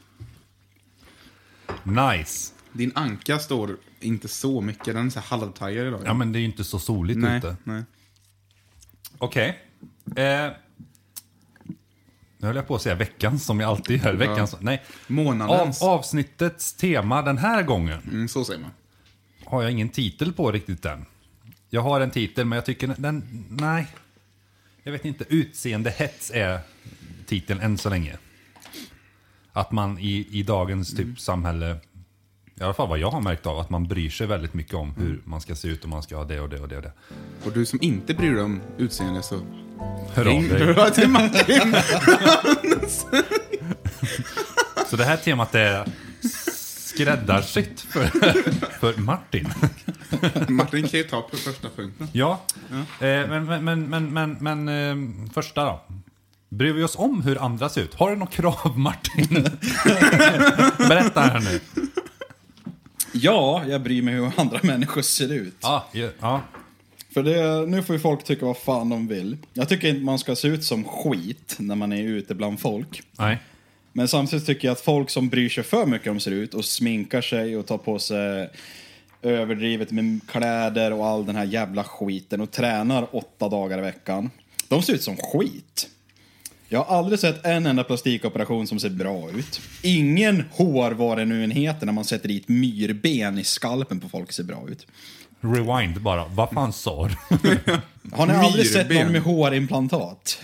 Speaker 1: Nice!
Speaker 3: Din anka står inte så mycket. Den är så här halvtajad idag.
Speaker 1: Ja men det är ju inte så soligt
Speaker 3: nej,
Speaker 1: ute.
Speaker 3: nej.
Speaker 1: Okej. Eh, nu höll jag på att säga veckans som jag alltid gör. Veckans, nej. Av,
Speaker 3: Månadens.
Speaker 1: avsnittets tema den här gången
Speaker 3: Mm, så säger man.
Speaker 1: har jag ingen titel på riktigt än. Jag har en titel, men jag tycker den... Nej. Jag vet inte. Utseendehets är titeln än så länge. Att man i, i dagens typ samhälle, i alla fall vad jag har märkt av, att man bryr sig väldigt mycket om hur man ska se ut och man ska ha det och det och det och det.
Speaker 3: Och du som inte bryr dig om utseende så...
Speaker 1: Hör av dig.
Speaker 3: Hör till Martin.
Speaker 1: Så det här temat är skräddarsytt för, för Martin.
Speaker 3: Martin kan ju ta på första punkten.
Speaker 1: Ja, Eh, men, men, men, men, men, men eh, första då. Bryr vi oss om hur andra ser ut? Har du något krav Martin? Berätta här nu.
Speaker 2: Ja, jag bryr mig hur andra människor ser ut.
Speaker 1: Ja, ja, ja.
Speaker 2: För det, nu får ju folk tycka vad fan de vill. Jag tycker inte man ska se ut som skit när man är ute bland folk.
Speaker 1: Nej.
Speaker 2: Men samtidigt tycker jag att folk som bryr sig för mycket om ser ut och sminkar sig och tar på sig överdrivet med kläder och all den här jävla skiten och tränar åtta dagar i veckan. De ser ut som skit. Jag har aldrig sett en enda plastikoperation som ser bra ut. Ingen hårvaruenheter när man sätter dit myrben i skalpen på folk ser bra ut.
Speaker 1: Rewind bara. Vad fan sa du?
Speaker 2: Har ni aldrig sett
Speaker 3: Myrben?
Speaker 2: någon med hårimplantat?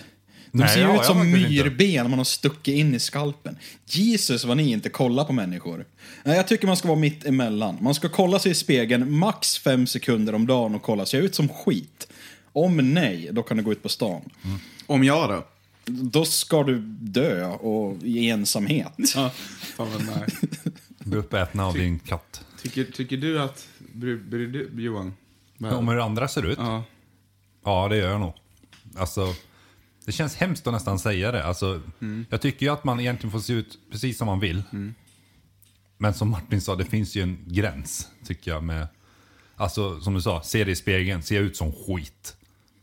Speaker 2: De
Speaker 1: Nej,
Speaker 2: ser
Speaker 1: ja,
Speaker 2: ju
Speaker 1: jag
Speaker 2: ut som
Speaker 1: faktiskt inte.
Speaker 2: myrben man har stuckit in i skalpen. Jesus vad ni inte kollar på människor. Nej, jag tycker man ska vara mitt emellan. Man ska kolla sig i spegeln max fem sekunder om dagen och kolla sig ut som skit. Om nej, då kan du gå ut på stan.
Speaker 3: Om jag då?
Speaker 2: Då ska du dö och i ensamhet.
Speaker 3: Fan vad nej.
Speaker 1: Bli uppätna av din katt.
Speaker 3: Tycker, tycker du att... Bryr bryr du Johan?
Speaker 1: Om hur andra ser ut?
Speaker 3: Ja.
Speaker 1: Ja, det gör jag nog. Alltså, det känns hemskt att nästan säga det. Alltså,
Speaker 3: Mm.
Speaker 1: Jag tycker ju att man egentligen får se ut precis som man vill. Men som Martin sa, det finns ju en gräns, tycker jag. Med, alltså, som du sa, se dig i spegeln, se ut som skit.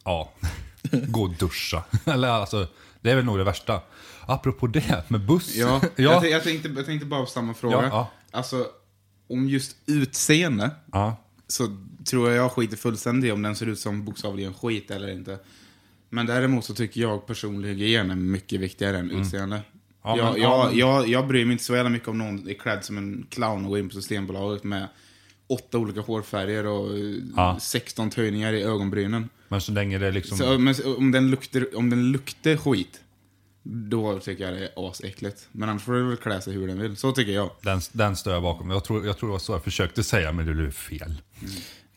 Speaker 1: Ja, gå och duscha. Eller alltså, det är väl nog det värsta. Apropå det med buss.
Speaker 3: Ja, Jag,
Speaker 1: ja.
Speaker 3: tän- jag, tänkte, jag tänkte bara på samma fråga.
Speaker 1: Ja, ja.
Speaker 3: Alltså, om just utseende
Speaker 1: ja.
Speaker 3: så tror jag jag skiter fullständigt i om den ser ut som bokstavligen skit eller inte. Men däremot så tycker jag personlig hygien är mycket viktigare än utseende.
Speaker 1: Mm. Ja,
Speaker 3: jag,
Speaker 1: men-
Speaker 3: jag,
Speaker 1: ja, men-
Speaker 3: jag, jag bryr mig inte så jävla mycket om någon är klädd som en clown och går in på Systembolaget med åtta olika hårfärger och eh,
Speaker 1: Ja.
Speaker 3: 16 töjningar i ögonbrynen.
Speaker 1: Men så länge det är liksom...
Speaker 3: Så, men så- om den, lukter, om den luktar skit, då tycker jag det är asäckligt. Men annars får du väl klä sig hur den vill. Så tycker jag.
Speaker 1: Den, den står jag bakom. Jag tror, jag tror det var så jag försökte säga, men det blev fel.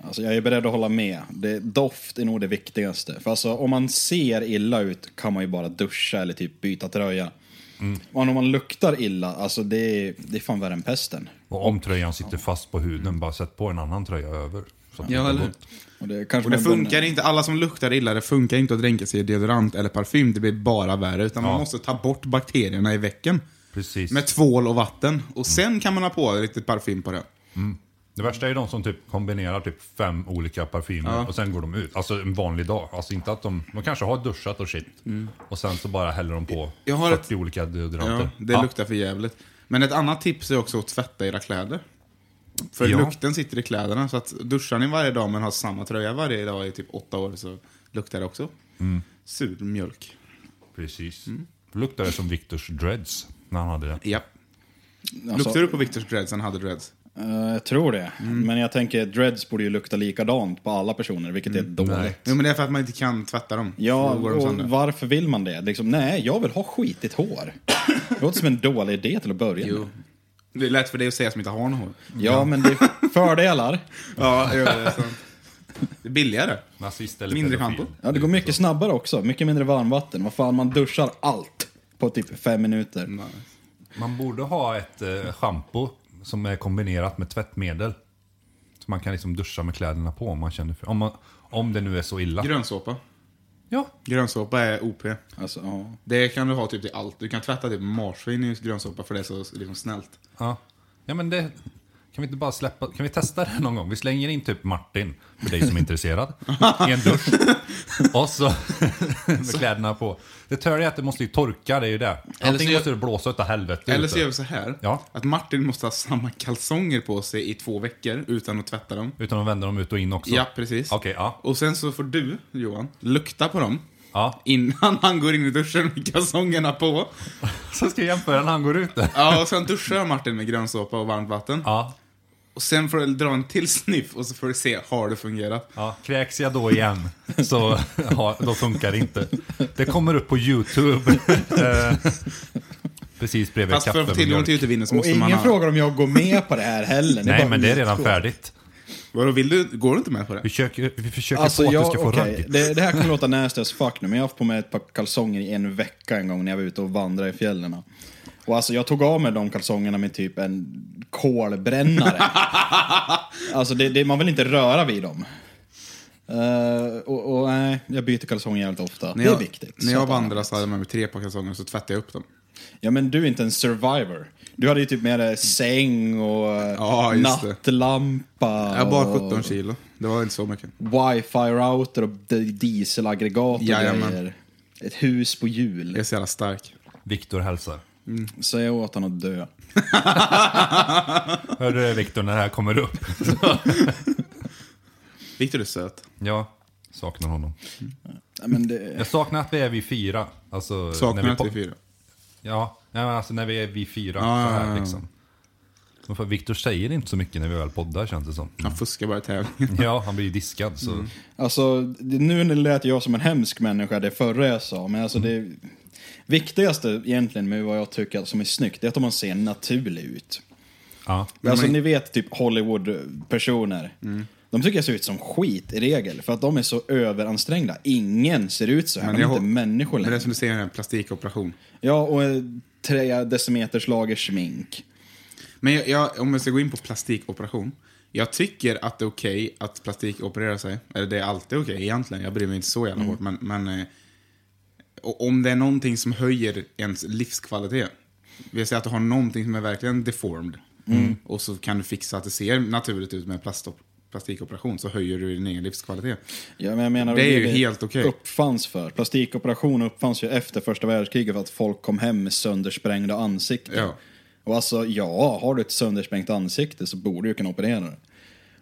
Speaker 2: Alltså, jag är beredd att hålla med. Det, doft är nog det viktigaste. För alltså, om man ser illa ut kan man ju bara duscha eller typ byta tröja.
Speaker 3: Mm.
Speaker 2: Men om man luktar illa, alltså det, är- det är fan värre än pesten.
Speaker 1: Och om tröjan sitter fast på huden, bara sätt på en annan tröja över. Så att
Speaker 3: Ja,
Speaker 1: det går
Speaker 3: eller hur?
Speaker 1: bort.
Speaker 2: Och det, kanske
Speaker 3: Och det
Speaker 2: man-
Speaker 3: funkar inte, alla som luktar illa, det funkar inte att dränka sig i deodorant eller parfym. Det blir bara värre. Utan man
Speaker 1: Ja.
Speaker 3: måste ta bort bakterierna i väcken.
Speaker 1: Precis.
Speaker 3: Med tvål och vatten. Och sen kan man ha på lite parfym på det.
Speaker 1: Det värsta är de som typ kombinerar typ fem olika parfymer och sen går de ut. Alltså en vanlig dag. Alltså inte att de, de kanske har duschat och shit. Och sen så bara häller de på
Speaker 3: Mm. Jag har
Speaker 1: 40
Speaker 3: ett-
Speaker 1: olika deodoranter.
Speaker 3: Ja, det
Speaker 1: Ja.
Speaker 3: luktar för jävligt. Men ett annat tips är också att tvätta era kläder. För
Speaker 1: Ja.
Speaker 3: lukten sitter i kläderna. Så att duschar ni varje dag men har samma tröja varje dag i typ åtta år så luktar det också. Sur mjölk.
Speaker 1: Precis.
Speaker 3: Mm.
Speaker 1: Luktar det som Victors dreads när han hade det.
Speaker 3: Ja.
Speaker 2: Alltså,
Speaker 3: Luktar Mm. du på Victors dreads? Han hade dreads.
Speaker 2: eh, jag tror det. Men jag tänker dreads borde ju lukta likadant på alla personer, vilket
Speaker 3: Mm.
Speaker 2: är dåligt.
Speaker 1: Nej.
Speaker 3: Jo, men det är för att man inte kan tvätta dem.
Speaker 2: Ja,
Speaker 3: Då går de
Speaker 2: och
Speaker 3: sönder.
Speaker 2: varför vill man det? Liksom, nej, jag vill ha skitigt hår. Det låter som en dålig idé till att börja med.
Speaker 3: Jo. Det är lätt för dig att säga som inte har någon.
Speaker 2: Ja, men det är fördelar.
Speaker 3: Ja, det är sant. Det är billigare.
Speaker 1: Nazist eller
Speaker 3: Mindre
Speaker 1: pedofil.
Speaker 3: shampoo.
Speaker 2: Ja, det går mycket snabbare också. Mycket mindre varmvatten. Vad fan, man duschar allt på typ fem minuter.
Speaker 1: Man borde ha ett eh, shampoo som är kombinerat med tvättmedel. Så man kan liksom duscha med kläderna på om man känner för om, man, om det nu är så illa.
Speaker 3: Grönsåpa.
Speaker 1: Ja,
Speaker 3: Grönsåpa är OP.
Speaker 2: Alltså, ja.
Speaker 3: Det kan du ha typ till allt. Du kan tvätta typ marsvin i just grönsåpa för det är så liksom snällt.
Speaker 1: Ja. ja, men det... Kan vi inte bara släppa... Kan vi testa det någon gång? Vi slänger in typ Martin, för dig som är intresserad, i en dusch. Och så med kläderna på. Det törliga är att det måste ju torka, det är ju det. Antingen
Speaker 3: så gör-
Speaker 1: måste det blåsa utav helvete.
Speaker 3: Eller
Speaker 1: ute.
Speaker 3: så gör vi så här.
Speaker 1: Ja.
Speaker 3: Att Martin måste ha samma kalsonger på sig i två veckor utan att tvätta dem.
Speaker 1: Utan att vända dem ut och in också.
Speaker 3: Ja, precis.
Speaker 1: Okej, ja.
Speaker 3: Och sen så får du, Johan, lukta på dem.
Speaker 1: ja.
Speaker 3: Innan han går in i duschen med kalsongerna på.
Speaker 1: Så ska jag jämföra när han går ut där.
Speaker 3: Ja, och sen duschar Martin med grönsåpa och varmt vatten.
Speaker 1: Ja.
Speaker 3: Och sen får du dra en till sniff och så får du se, har det fungerat?
Speaker 1: Ja, kräks jag då igen så ja, då funkar det inte. Det kommer upp på YouTube. Eh, Precis bredvid
Speaker 3: Fast för
Speaker 1: kaffe
Speaker 3: att få
Speaker 1: med
Speaker 3: tillgång
Speaker 1: mjölk.
Speaker 3: till utevinen så
Speaker 2: Och
Speaker 3: måste man
Speaker 2: ingen
Speaker 3: ha...
Speaker 2: frågar om jag går med på det här heller. Ni
Speaker 1: Nej,
Speaker 2: bara
Speaker 1: men det är redan
Speaker 2: utgår.
Speaker 1: färdigt.
Speaker 3: Vadå, vill du, går du inte med på
Speaker 1: Vi
Speaker 3: det?
Speaker 1: försöker, vi försöker
Speaker 2: Alltså,
Speaker 1: få att du
Speaker 2: jag,
Speaker 1: ska få
Speaker 2: okej,
Speaker 1: raggigt.
Speaker 2: det, det här kan låta nasty as fuck nu, men jag har haft på mig ett par kalsonger i en vecka en gång när jag var ute och vandrade i fjällen. Och alltså, jag tog av mig de kalsongerna med typ en kolbrännare. alltså, det, det, man vill inte röra vid dem. Eh, och och nej, jag byter kalsonger jävligt ofta.
Speaker 3: När
Speaker 2: det
Speaker 3: jag,
Speaker 2: är viktigt.
Speaker 3: När
Speaker 2: Så
Speaker 3: jag
Speaker 2: att-
Speaker 3: vandrade så hade jag med mig tre par kalsonger och så tvättade jag upp dem.
Speaker 2: Ja, men du är inte en survivor. Du hade ju typ med dig säng och eh,
Speaker 3: Ja, just det.
Speaker 2: nattlampa.
Speaker 3: Jag bar
Speaker 2: och
Speaker 3: 17 kilo. Det var inte så mycket.
Speaker 2: Wifi-router och d- dieselaggregat och
Speaker 3: Jajamän.
Speaker 2: grejer. Ett hus på hjul.
Speaker 3: Jag är så jävla stark.
Speaker 1: Viktor hälsar.
Speaker 2: Säg åt honom att dö.
Speaker 1: Hör du det, Viktor när det här kommer upp?
Speaker 3: Viktor är söt.
Speaker 1: Ja, saknar honom.
Speaker 2: Nej, men det,
Speaker 1: Jag saknar att vi är vi fyra. Alltså,
Speaker 3: Saknar
Speaker 1: vi
Speaker 3: att
Speaker 1: po-
Speaker 3: vi är fyra.
Speaker 1: Ja, nej, men alltså när vi är vi fyra.
Speaker 3: Ja,
Speaker 1: så
Speaker 3: ja,
Speaker 1: här,
Speaker 3: ja.
Speaker 1: liksom. Men för Viktor säger inte så mycket när vi väl poddar känns det som.
Speaker 3: Han fuskar bara i tävlingen.
Speaker 1: Ja, han blir ju diskad så.
Speaker 3: Mm.
Speaker 2: alltså, det, nu lät jag som en hemsk människa, det förra jag sa, men alltså det viktigaste egentligen med vad jag tycker som är snyggt, det är att man ser naturlig ut.
Speaker 1: Ja.
Speaker 2: alltså ni vet typ Hollywood-personer.
Speaker 3: Mm.
Speaker 2: De tycker jag ser ut som skit i regel, för att de är så överansträngda. Ingen ser ut så här, de är
Speaker 3: jag
Speaker 2: inte
Speaker 3: hå-
Speaker 2: människor
Speaker 3: Men det är
Speaker 2: längre.
Speaker 3: som du säger, en plastikoperation.
Speaker 2: Ja, och eh, tre decimeters lager smink.
Speaker 3: Men jag, jag, om jag ska gå in på plastikoperation. Jag tycker att det är okej att plastikoperera sig. Eller det är alltid okej egentligen. Jag bryr mig inte så jävla
Speaker 2: Mm.
Speaker 3: hårt. Men, men eh, och om det är någonting som höjer ens livskvalitet. Vi säger att du har någonting som är verkligen deformed.
Speaker 2: Mm.
Speaker 3: Och så kan du fixa att det ser naturligt ut med plastop, plastikoperation. Så höjer du din egen livskvalitet.
Speaker 2: Ja, men jag menar,
Speaker 3: Det är ju helt okej.
Speaker 2: uppfanns för. Plastikoperationer uppfanns ju efter första världskriget för att folk kom hem med söndersprängda ansikten.
Speaker 3: Ja.
Speaker 2: Och alltså, ja, har du ett söndersprängt ansikte så borde du kunna operera det.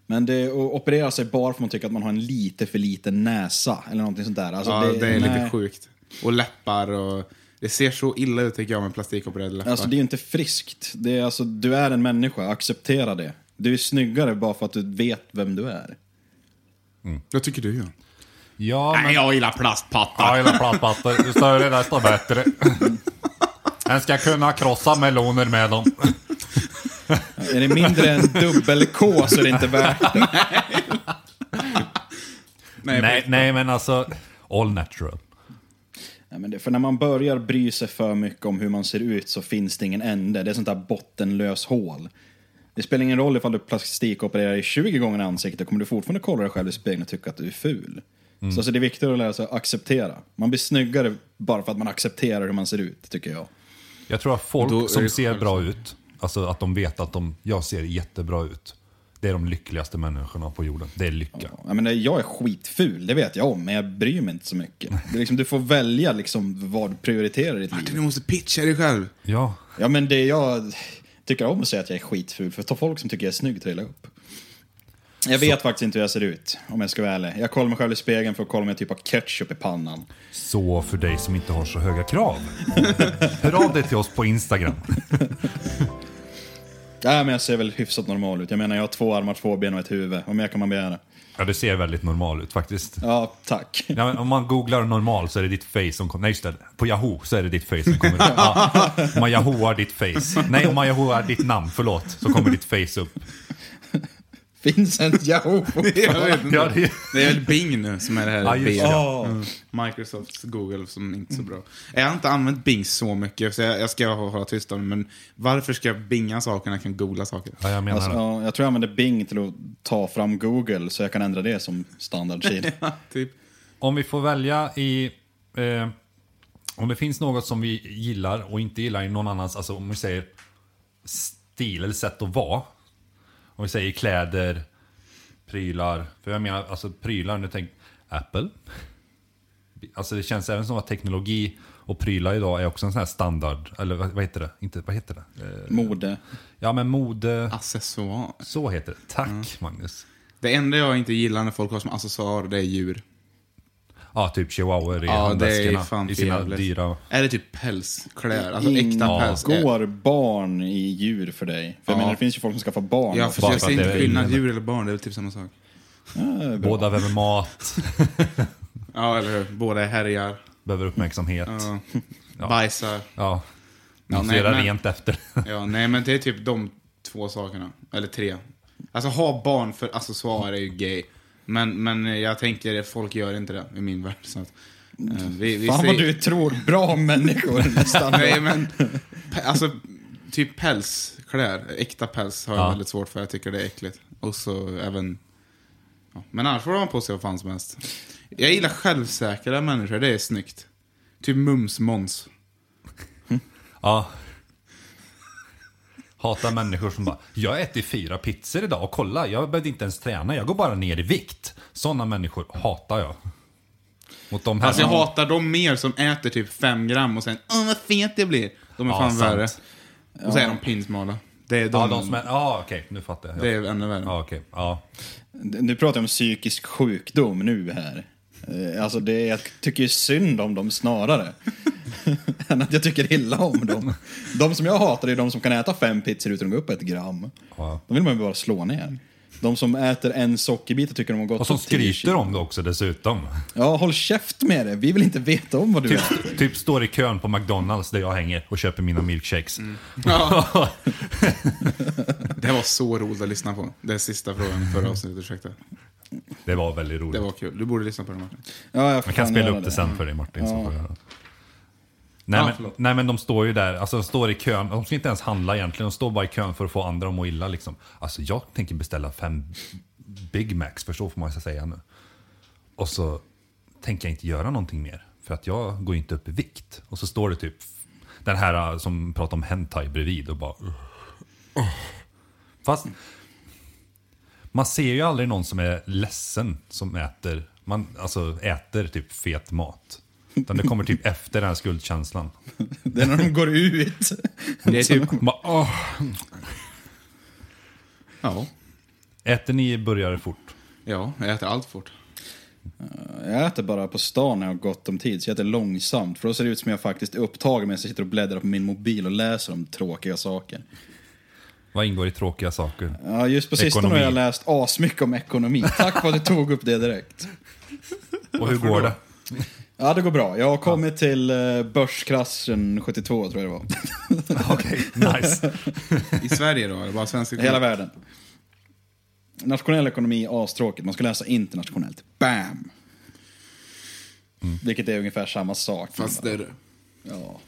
Speaker 2: Men det, att operera sig bara för att man tycker att man har en lite för liten näsa eller någonting sånt där. Alltså,
Speaker 3: Ja, det, är lite
Speaker 2: nej.
Speaker 3: sjukt. Och läppar och... Det ser så illa ut tycker jag med plastikopererade läppar.
Speaker 2: Alltså det är ju inte friskt. Det är, alltså, du är en människa, acceptera det. Du är snyggare bara för att du vet vem du är.
Speaker 3: Vad tycker du Johan?
Speaker 1: Ja, men...
Speaker 3: Nej, jag gillar plastpattar.
Speaker 1: Ja, jag gillar plattpattor. Du sa ju det, desto bättre. En ska kunna krossa meloner med dem.
Speaker 2: Är det mindre än dubbel-K så är det inte värt det.
Speaker 3: Nej,
Speaker 1: Nej, nej men alltså, all natural.
Speaker 2: Nej, men det, för när man börjar bry sig för mycket om hur man ser ut så finns det ingen ände. Det är sånt där bottenlös hål. Det spelar ingen roll ifall du plastikopererar i 20 gånger i ansiktet, kommer du fortfarande kolla dig själv i spegeln och tycka att du är ful. Så alltså, det är viktigt att lära sig att acceptera. Man blir snyggare bara för att man accepterar hur man ser ut, tycker jag.
Speaker 1: Jag tror att
Speaker 3: Då är
Speaker 1: folk som
Speaker 3: det
Speaker 1: ser
Speaker 3: själv-
Speaker 1: bra ut, alltså att de vet att de, jag ser jättebra ut. Det är de lyckligaste människorna på jorden. Det är lycka.
Speaker 2: Jag, menar, jag är skitful, det vet jag om, men jag bryr mig inte så mycket. Det är liksom, du får välja liksom, vad du prioriterar i ditt liv.
Speaker 3: Du måste pitcha dig själv.
Speaker 1: Ja.
Speaker 2: Ja, men det jag tycker om att säga att jag är skitful, för ta folk som tycker jag är snygg trillar upp. Jag vet faktiskt inte hur jag ser ut, om jag ska vara ärlig. Jag kollar mig själv i spegeln för att kolla om jag typ har ketchup i pannan.
Speaker 1: Så för dig som inte har så höga krav. Hör av dig till oss på Instagram.
Speaker 2: Nej, men jag ser väl hyfsat normal ut. Jag menar, jag har två armar, två ben och ett huvud. Vad mer kan man begära?
Speaker 1: Ja, det ser väldigt normal ut faktiskt.
Speaker 2: Ja, tack.
Speaker 1: Ja, men om man googlar normal så är det ditt face som kommer. Nej just det, på Yahoo så är det ditt face som kommer upp. Ja, om man Yahooar ditt face. Nej, om man Yahooar ditt namn, förlåt, så kommer ditt face upp.
Speaker 2: Vincent Yahoo!
Speaker 3: Jag vet inte.
Speaker 1: Ja, det-
Speaker 3: Det är väl Bing nu som är det här.
Speaker 1: Ja, just det.
Speaker 3: Bing.
Speaker 2: Ja.
Speaker 3: Mm. Microsofts Google som är inte så bra. Jag har inte använt Bing så mycket, så jag, jag ska hå- hålla tyst om det. Men varför ska jag binga saker när jag kan googla saker?
Speaker 1: Ja, jag menar
Speaker 2: Alltså,
Speaker 1: det.
Speaker 2: ja, jag tror jag använder Bing till att ta fram Google så jag kan ändra det som standardsida.
Speaker 3: typ.
Speaker 1: Om vi får välja i... Eh, om det finns något som vi gillar och inte gillar i någon annans, alltså om vi säger stil eller sätt att vara. Om vi säger kläder, prylar. För jag menar, alltså prylar, nu tänk Apple. Alltså det känns även som att teknologi och prylar idag är också en sån här standard, eller vad, vad heter det? Inte, vad heter det? Eh,
Speaker 2: Mode.
Speaker 1: Ja men mode,
Speaker 3: Accessoar.
Speaker 1: så heter det. Tack
Speaker 3: Mm.
Speaker 1: Magnus.
Speaker 3: Det enda jag inte gillar när folk har som accessoar, det är djur.
Speaker 1: Ja, typ chihuahuor i
Speaker 3: Ja, det är
Speaker 1: handväskorna.
Speaker 3: fan
Speaker 1: I sina
Speaker 3: jävligt.
Speaker 1: dyra...
Speaker 3: Är det typ pälskläder? Alltså
Speaker 2: Mm.
Speaker 3: äkta päls?
Speaker 2: Ingår barn i djur för dig? För jag
Speaker 3: Ja.
Speaker 2: menar, det finns ju folk som skaffar barn.
Speaker 3: Jag,
Speaker 2: också.
Speaker 1: Bara
Speaker 3: jag
Speaker 1: för att
Speaker 3: ser inte
Speaker 1: det är-
Speaker 3: skillnad, djur eller barn, det är väl typ samma sak.
Speaker 1: Båda behöver mat,
Speaker 3: Ja, eller hur? Båda är härjar,
Speaker 1: behöver uppmärksamhet.
Speaker 3: ja.
Speaker 1: Ja.
Speaker 3: bajsar.
Speaker 1: Ja.
Speaker 3: Ja,
Speaker 1: Man får
Speaker 3: nej,
Speaker 1: göra
Speaker 3: men-
Speaker 1: rent efter.
Speaker 3: Ja, nej men det är typ de två sakerna. Eller tre. Alltså ha barn för accessoarer är ju gay. Men, men jag tänker, folk gör inte det i min värld. Så att, eh, vi, vi
Speaker 2: Fan vad
Speaker 3: säger-
Speaker 2: du tror bra om människor nästan.
Speaker 3: Nej men, pe- alltså typ pälskläder, äkta päls har jag
Speaker 1: Ja.
Speaker 3: väldigt svårt för. Jag tycker det är äckligt. Och så även... Ja. Men annars får de ha på sig vad fan som helst. Jag gillar självsäkra människor, det är snyggt. Typ Mums Måns.
Speaker 1: Ja. Hatar människor som bara, jag äter fyra pizzor idag och kolla, jag behövde inte ens träna, jag går bara ner i vikt. Sådana människor hatar jag. Mot de här
Speaker 3: Alltså jag
Speaker 1: som-
Speaker 3: hatar de mer som äter typ fem gram och sen åh vad fet jag blir. De är
Speaker 1: Ja,
Speaker 3: fan
Speaker 1: sant.
Speaker 3: värre. Och så är de pinsmala. Det är de,
Speaker 1: Ja, de som är... Ja, okej, nu fattar jag.
Speaker 3: Det är ännu värre.
Speaker 1: Ja, okej. Ja.
Speaker 2: Nu pratar jag om psykisk sjukdom nu här. Eh, Alltså det, jag tycker ju synd om dem snarare. än att jag tycker illa om dem. De som jag hatar är de som kan äta fem pizzor utan att gå upp ett gram.
Speaker 1: Ja.
Speaker 2: De vill man ju bara slå ner. De som äter en sockerbit och tycker de har gått
Speaker 1: Och som
Speaker 2: upp 10
Speaker 1: skryter
Speaker 2: kilo.
Speaker 1: om det också dessutom.
Speaker 2: Ja, håll käft med det. Vi vill inte veta om vad du äter.
Speaker 1: Typ, typ står i kön på McDonalds där jag hänger och köper mina milkshakes.
Speaker 3: Mm. Ja. det var så roligt att lyssna på. Den sista frågan i förra avsnittet, ursäkta.
Speaker 1: Det var väldigt roligt.
Speaker 3: Det var kul. Du borde lyssna på den Martin.
Speaker 2: Ja, jag får
Speaker 1: Jag kan
Speaker 2: fan
Speaker 1: spela
Speaker 2: göra
Speaker 1: upp det sen för dig Martin. Så
Speaker 2: Ja.
Speaker 1: får jag höra. Nej,
Speaker 3: Ja,
Speaker 1: men,
Speaker 3: förlåt.
Speaker 1: nej men de står ju där, alltså de står i kön, de ska inte ens handla egentligen, de står bara i kön för att få andra att må illa liksom. Alltså jag tänker beställa fem Big Macs, för så får man ju säga nu. Och så tänker jag inte göra någonting mer, för att jag går ju inte upp i vikt. Och så står det typ den här äh, som pratar om hentai bredvid och bara... "Ugh." Fast man ser ju aldrig någon som är ledsen som äter, man, alltså, äter typ fet mat. Utan det kommer typ efter den här skuldkänslan.
Speaker 2: Det är när de går ut.
Speaker 3: Det är typ,
Speaker 1: Man, åh,
Speaker 3: ja.
Speaker 1: äter ni burgare fort?
Speaker 3: Ja, jag äter allt fort.
Speaker 2: Jag äter bara på stan när jag har gott om tid, så jag äter långsamt. För då ser det ut som jag faktiskt är upptagen medan jag sitter och bläddrar på min mobil och läser om tråkiga saker.
Speaker 1: Vad ingår i tråkiga saker?
Speaker 2: Ja, just på sistone
Speaker 1: Ekonomi.
Speaker 2: har jag läst asmycket om ekonomi. Tack för att du tog upp det direkt.
Speaker 1: Och hur går det?
Speaker 2: Ja, det går bra. Jag har kommit till eh, börskraschen 72, tror jag det var.
Speaker 1: Okej, nice.
Speaker 3: I Sverige då? Är det bara svenska
Speaker 2: Hela världen. Nationell ekonomi, astråkigt. Man ska läsa internationellt. Bam! Vilket är ungefär samma sak.
Speaker 3: Fast större.
Speaker 2: Ja.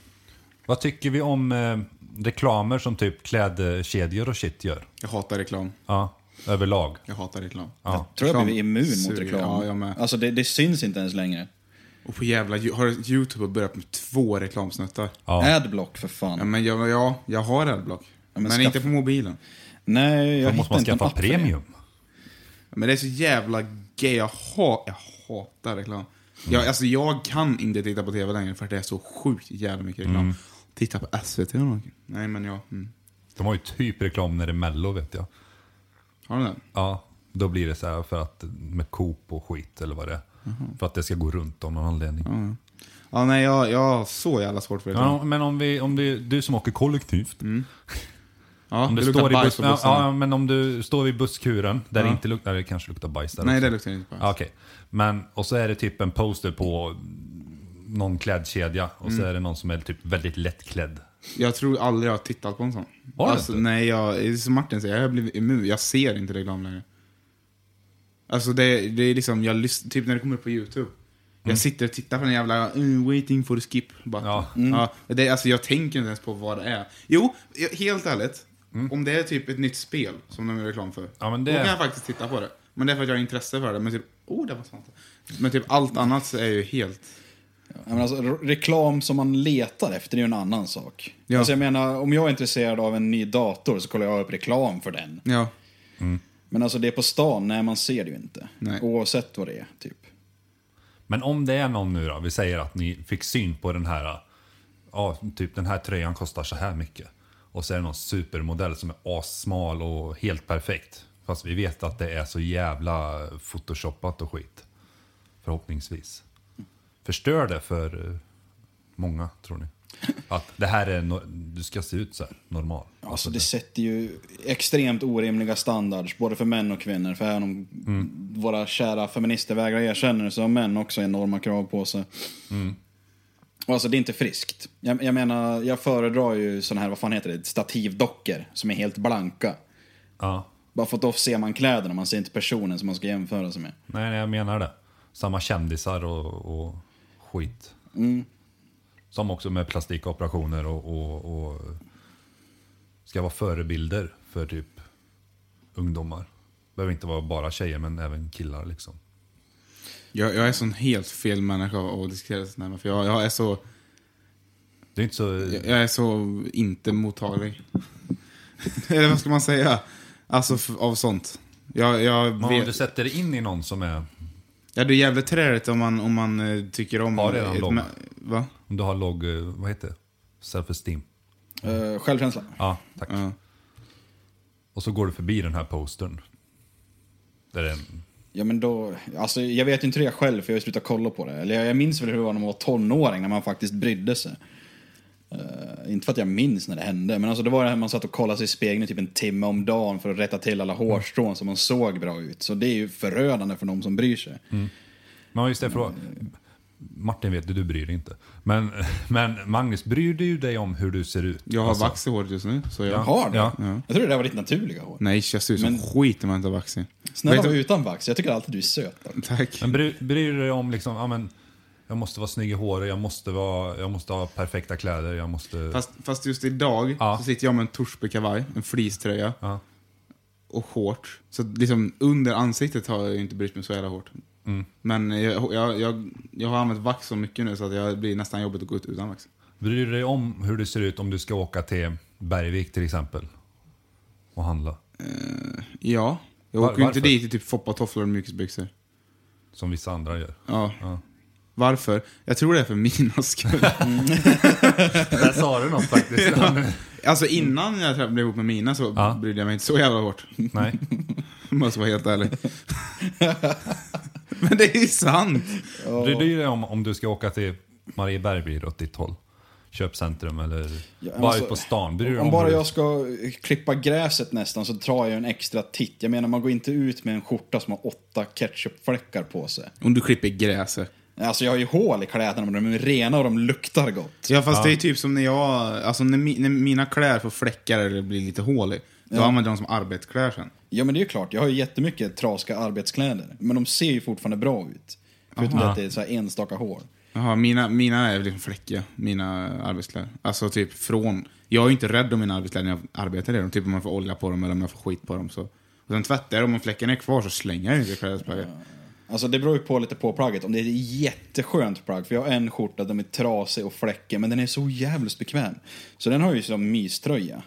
Speaker 1: Vad tycker vi om eh, reklamer som typ klädkedjor och shit gör?
Speaker 3: Jag hatar reklam.
Speaker 1: Ja, överlag.
Speaker 3: Jag hatar reklam.
Speaker 1: Ja.
Speaker 2: Tror jag
Speaker 3: Reklam
Speaker 2: blivit immun mot
Speaker 3: suger.
Speaker 2: reklam.
Speaker 3: Ja, jag med.
Speaker 2: Alltså det, det syns inte ens längre.
Speaker 3: Och på jävla... Ju- Har Youtube börjat med två reklamsnuttar?
Speaker 1: Ja.
Speaker 2: Adblock för fan.
Speaker 3: Ja, men jag, ja, jag har adblock.
Speaker 2: men
Speaker 3: men
Speaker 2: skaffa-
Speaker 3: inte på mobilen.
Speaker 2: Nej, jag
Speaker 1: Då måste
Speaker 2: hittar
Speaker 1: man
Speaker 2: inte en
Speaker 1: skaffa
Speaker 2: app för det.
Speaker 1: premium.
Speaker 3: Men det är så jävla gay. Jag, ha, jag hatar reklam.
Speaker 1: Mm.
Speaker 3: Jag, alltså, jag kan inte titta på tv längre för att det är så sjukt jävla mycket reklam.
Speaker 1: Mm.
Speaker 3: Titta på SVT eller något. Nej, men jag... Mm.
Speaker 1: De har ju typ reklam när det är mello vet jag.
Speaker 3: Har du den?
Speaker 1: Ja, då blir det så här för att med Coop och skit eller vad det är.
Speaker 3: Mhm.
Speaker 1: För att det ska gå runt av någon anledning.
Speaker 3: Mm. Ja, nej, jag, jag har så jävla svårt för reklam.
Speaker 1: Ja, men om, vi, om det, du som åker kollektivt.
Speaker 3: Ja,
Speaker 1: Om du
Speaker 3: Mm. det luktar
Speaker 1: står i
Speaker 3: bajs
Speaker 1: bus,
Speaker 3: på
Speaker 1: ja,
Speaker 3: bussen.
Speaker 1: ja, men om du står vid busskuren där det inte luktar, det kanske luktar bajs där
Speaker 3: nej,
Speaker 1: också.
Speaker 3: det luktar inte bajs.
Speaker 1: Ja, Okej, men och så är det typ en poster på någon klädkedja och
Speaker 3: Mm.
Speaker 1: så är det någon som är typ väldigt lättklädd.
Speaker 3: Jag tror aldrig jag har tittat på en sån.
Speaker 1: Har du
Speaker 3: alltså,
Speaker 1: inte?
Speaker 3: Nej, jag, som Martin säger, jag har blivit immun. Jag ser inte reklam längre. Alltså det, det är liksom, jag lyssnar, typ när det kommer upp på YouTube. Jag sitter och tittar på den jävla mm, waiting for skip button.
Speaker 1: Mm. Ja.
Speaker 3: Ja. det, alltså jag tänker inte ens på vad det är. Jo, jag- helt ärligt. Om det är typ ett nytt spel som de gör reklam för.
Speaker 1: Mm. Ja, men det-
Speaker 3: Då kan jag faktiskt titta på det. Men det är för att jag har intresse för det. Men typ, oh det var sant. Men typ allt annat så är ju helt...
Speaker 2: Ja, men alltså, re- reklam som man letar efter är ju en annan sak.
Speaker 3: Ja.
Speaker 2: Alltså, jag menar, om jag är intresserad av en ny dator så kollar jag upp reklam för den.
Speaker 3: Ja.
Speaker 2: Men alltså det är på stan, nej man ser det ju inte.
Speaker 3: Nej.
Speaker 2: Oavsett vad det är, typ.
Speaker 1: Men om det är någon nu då, vi säger att ni fick syn på den här, ja, typ den här tröjan kostar så här mycket. Och så är det någon supermodell som är assmal och helt perfekt. Fast vi vet att det är så jävla photoshoppat och skit. Förhoppningsvis. Förstör det för eh, många, tror ni? Att det här är, no- du ska se ut så här, normal.
Speaker 2: Alltså det sätter ju extremt orimliga standards, både för män och kvinnor. För även om våra kära feminister vägrar erkänna det så har män också enorma krav på sig. Mm. Och alltså det är inte friskt. Jag, jag menar, jag föredrar ju sådana här, vad fan heter det, stativdockor som är helt blanka.
Speaker 1: Ja.
Speaker 2: Bara för att då ser man kläderna, man ser inte personen som man ska jämföra sig med.
Speaker 1: Nej, nej, jag menar det. Samma kändisar och, och skit.
Speaker 3: Mm.
Speaker 1: Som också med plastikoperationer och, och, och ska vara förebilder för typ ungdomar. Behöver inte vara bara tjejer men även killar liksom.
Speaker 3: Jag, jag är sån helt fel människa att diskutera sånt här med. För jag, jag är så...
Speaker 1: Det är inte så...
Speaker 3: Jag jag är så inte mottaglig. Eller vad ska man säga? Alltså f- av sånt. Jag, jag
Speaker 1: Men om du
Speaker 3: vet.
Speaker 1: sätter dig in i någon som är...
Speaker 3: Ja, det är jävligt träligt om man, om man eh, tycker om...
Speaker 1: Har redan
Speaker 3: ett
Speaker 1: lång.
Speaker 3: mä- Va?
Speaker 1: Om du har låg... eh, Vad heter det? Self-esteem.
Speaker 2: Eh, självkänsla.
Speaker 1: Ja, tack.
Speaker 3: Ja.
Speaker 1: Och så går du förbi den här postern. Där det är en...
Speaker 2: Ja, men då, alltså, jag vet ju inte det själv, för jag har ju slutat kolla på det. Eller jag, jag minns väl hur det var när man var tonåring, när man faktiskt brydde sig. Eh, inte för att jag minns när det hände, men alltså, det var det här man satt och kollade sig i spegeln i typ en timme om dagen för att rätta till alla hårstrån så man såg bra ut. Så det är ju förödande för någon som bryr sig.
Speaker 3: Mm.
Speaker 1: Men just det, för Martin vet du, du bryr dig inte. Men, men Magnus, bryr du ju dig om hur du ser ut?
Speaker 3: Jag har
Speaker 1: Alltså,
Speaker 3: vax i håret just nu. Så jag...
Speaker 2: Har du?
Speaker 1: Ja.
Speaker 2: Jag tror det där var ditt naturliga hår.
Speaker 3: Nej, jag ser ut som
Speaker 2: Men-
Speaker 3: skit om jag inte har vax i.
Speaker 2: Snälla
Speaker 3: Vet du-
Speaker 2: var utan vax, jag tycker alltid du är söt. då.
Speaker 3: Tack.
Speaker 1: Men bryr, bryr du dig om liksom, ja men, jag måste vara snygg i håret, jag måste, vara, jag måste ha perfekta kläder, jag måste...
Speaker 3: Fast, fast just idag
Speaker 1: Ja.
Speaker 3: så sitter jag med en Torsby-kavaj, en fleecetröja
Speaker 1: Ja.
Speaker 3: och shorts. Så liksom under ansiktet har jag ju inte brytt mig så jävla hårt.
Speaker 1: Mm.
Speaker 3: Men jag, jag, jag, jag har använt vax så mycket nu så att jag det blir nästan jobbigt att gå ut utan vax.
Speaker 1: Bryr du dig om hur du ser ut om du ska åka till Bergvik till exempel? Och handla,
Speaker 3: Ja. Jag
Speaker 1: Var-
Speaker 3: åker ju inte
Speaker 1: varför?
Speaker 3: dit i typ foppatofflor och mjukisbyxor.
Speaker 1: som vissa andra gör.
Speaker 3: Ja. Varför? Jag tror det är för mina skull.
Speaker 1: Där sa du något faktiskt.
Speaker 3: alltså innan jag trä- blev ihop med mina så
Speaker 1: Ja.
Speaker 3: brydde jag mig inte så jävla hårt.
Speaker 1: Nej.
Speaker 3: Måste vara helt ärlig. Men det är ju sant.
Speaker 1: Bryr du dig om, om du ska åka till Marieberg blir det åt ditt håll? Köpcentrum eller
Speaker 2: Ja,
Speaker 1: bara
Speaker 2: alltså,
Speaker 1: ut på stan? Bryr du dig
Speaker 2: Om bara
Speaker 1: hur du-
Speaker 2: jag ska eh, klippa gräset nästan så tar jag en extra titt. Jag menar, man går inte ut med en skjorta som har åtta ketchupfläckar på sig.
Speaker 3: Om du klipper gräset.
Speaker 2: Alltså jag har ju hål i kläderna men de är rena och de luktar gott.
Speaker 3: Ja fast det är typ som när jag, alltså när, mi, när mina kläder får fläckar eller blir lite hål i. Då använder jag dem som arbetskläder sen.
Speaker 2: Ja men det är ju klart, jag har ju jättemycket trasiga arbetskläder. Men de ser ju fortfarande bra ut. Förutom att det är så här enstaka hår.
Speaker 3: Jaha, mina, mina är liksom fläckiga, mina arbetskläder. Alltså typ från, jag är ju inte rädd om mina arbetskläder när jag arbetar i dem. Typ om man får olja på dem eller om jag får skit på dem så. Och sen tvättar jag dem, om fläcken är kvar så slänger jag inte klädesplagget.
Speaker 2: Alltså det beror ju på lite på plagget. Om det är ett jätteskönt plagg, för jag har en skjorta, den är trasig och fläckig, men den är så jävligt bekväm. Så den har ju som myströja.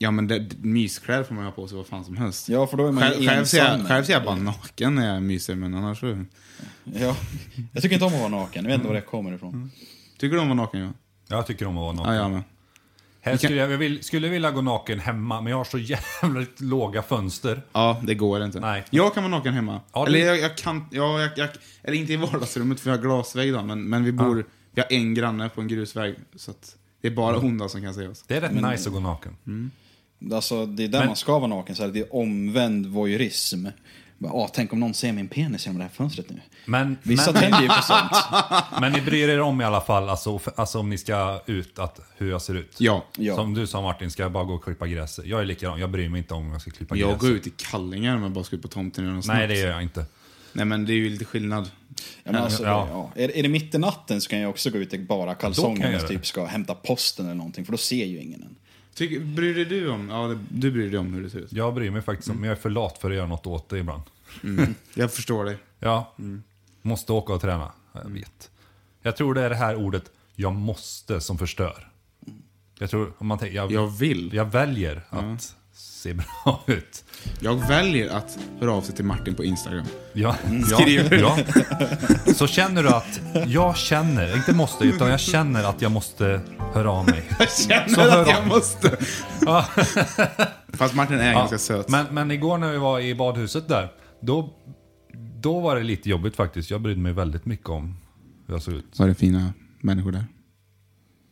Speaker 3: Ja men det, myskläder får man ju ha på sig vad fan som helst.
Speaker 2: Ja, för då är man ju
Speaker 3: själv, själv, ser jag,
Speaker 2: ensam.
Speaker 3: själv ser jag bara naken när jag myser men annars så...
Speaker 2: Ja. Jag tycker inte om att vara naken, jag vet inte var det
Speaker 3: Mm.
Speaker 2: kommer ifrån.
Speaker 3: Tycker du om att vara naken Johan?
Speaker 1: Jag tycker om att vara naken.
Speaker 3: Ja, jag med.
Speaker 1: Här skulle jag, jag vill, skulle vilja gå naken hemma, men jag har så jävligt låga fönster.
Speaker 3: Ja, det går inte.
Speaker 1: Nej.
Speaker 3: Jag kan vara naken hemma.
Speaker 1: Ja, det-
Speaker 3: Eller jag, jag kan... Ja, jag, jag, eller inte i vardagsrummet för vi har glasvägg då, men, men vi bor... Vi har en granne på en grusväg. Så att det är bara onda som kan se oss.
Speaker 1: Det är rätt nice att gå naken.
Speaker 3: Mm.
Speaker 2: Alltså det är där
Speaker 1: Men-
Speaker 2: man ska vara naken, så här, det är omvänd voyeurism. Bara, ah, tänk om någon ser min penis genom det här fönstret nu.
Speaker 1: Men,
Speaker 2: Vissa
Speaker 1: men,
Speaker 2: tänder ju på sånt.
Speaker 1: men ni bryr er om i alla fall, alltså, för- alltså om ni ska ut, att, hur jag ser ut.
Speaker 3: Ja.
Speaker 2: Ja.
Speaker 1: Som du sa Martin, ska jag bara gå och klippa gräset? Jag är likadan, jag bryr mig inte om jag ska klippa
Speaker 3: Jag
Speaker 1: gräset.
Speaker 3: går ut i kallingar om jag bara ska ut på tomten och göra något
Speaker 1: alltså- Nej,
Speaker 3: snabbt.
Speaker 1: det gör jag inte.
Speaker 3: Nej, men det är ju lite skillnad.
Speaker 2: Ja, men alltså,
Speaker 1: Ja.
Speaker 2: ja. Är, är det mitt i natten så kan jag också gå ut i bara
Speaker 1: Då kan
Speaker 2: kalsonger
Speaker 1: jag
Speaker 2: och
Speaker 1: det.
Speaker 2: typ ska hämta posten eller någonting, för då ser ju ingen en.
Speaker 3: Tycker, bryr dig du om... Ja, det, du bryr dig om hur det ser ut.
Speaker 1: Jag bryr mig faktiskt om,
Speaker 3: Mm.
Speaker 1: men jag är för lat för att göra något åt det ibland.
Speaker 3: Jag förstår dig.
Speaker 1: Ja,
Speaker 3: Mm.
Speaker 1: måste åka och träna. Jag vet. Jag tror det är det här ordet, jag måste, som förstör. Jag tror, om man tänker, jag,
Speaker 3: Jag
Speaker 1: jag,
Speaker 3: vill.
Speaker 1: väljer att se bra ut.
Speaker 3: Jag väljer att höra av sig till Martin på Instagram.
Speaker 1: Ja,
Speaker 3: Mm, Skriver.
Speaker 1: ja, ja. Så känner du att jag känner, inte måste, utan jag känner att jag måste höra av mig.
Speaker 3: Jag känner
Speaker 1: Så hör
Speaker 3: att jag
Speaker 1: av-
Speaker 3: måste. Fast Martin är ganska söt.
Speaker 1: Men, men igår när vi var i badhuset där, då, då var det lite jobbigt faktiskt. Jag brydde mig väldigt mycket om hur jag såg ut.
Speaker 3: Så är det fina människor där.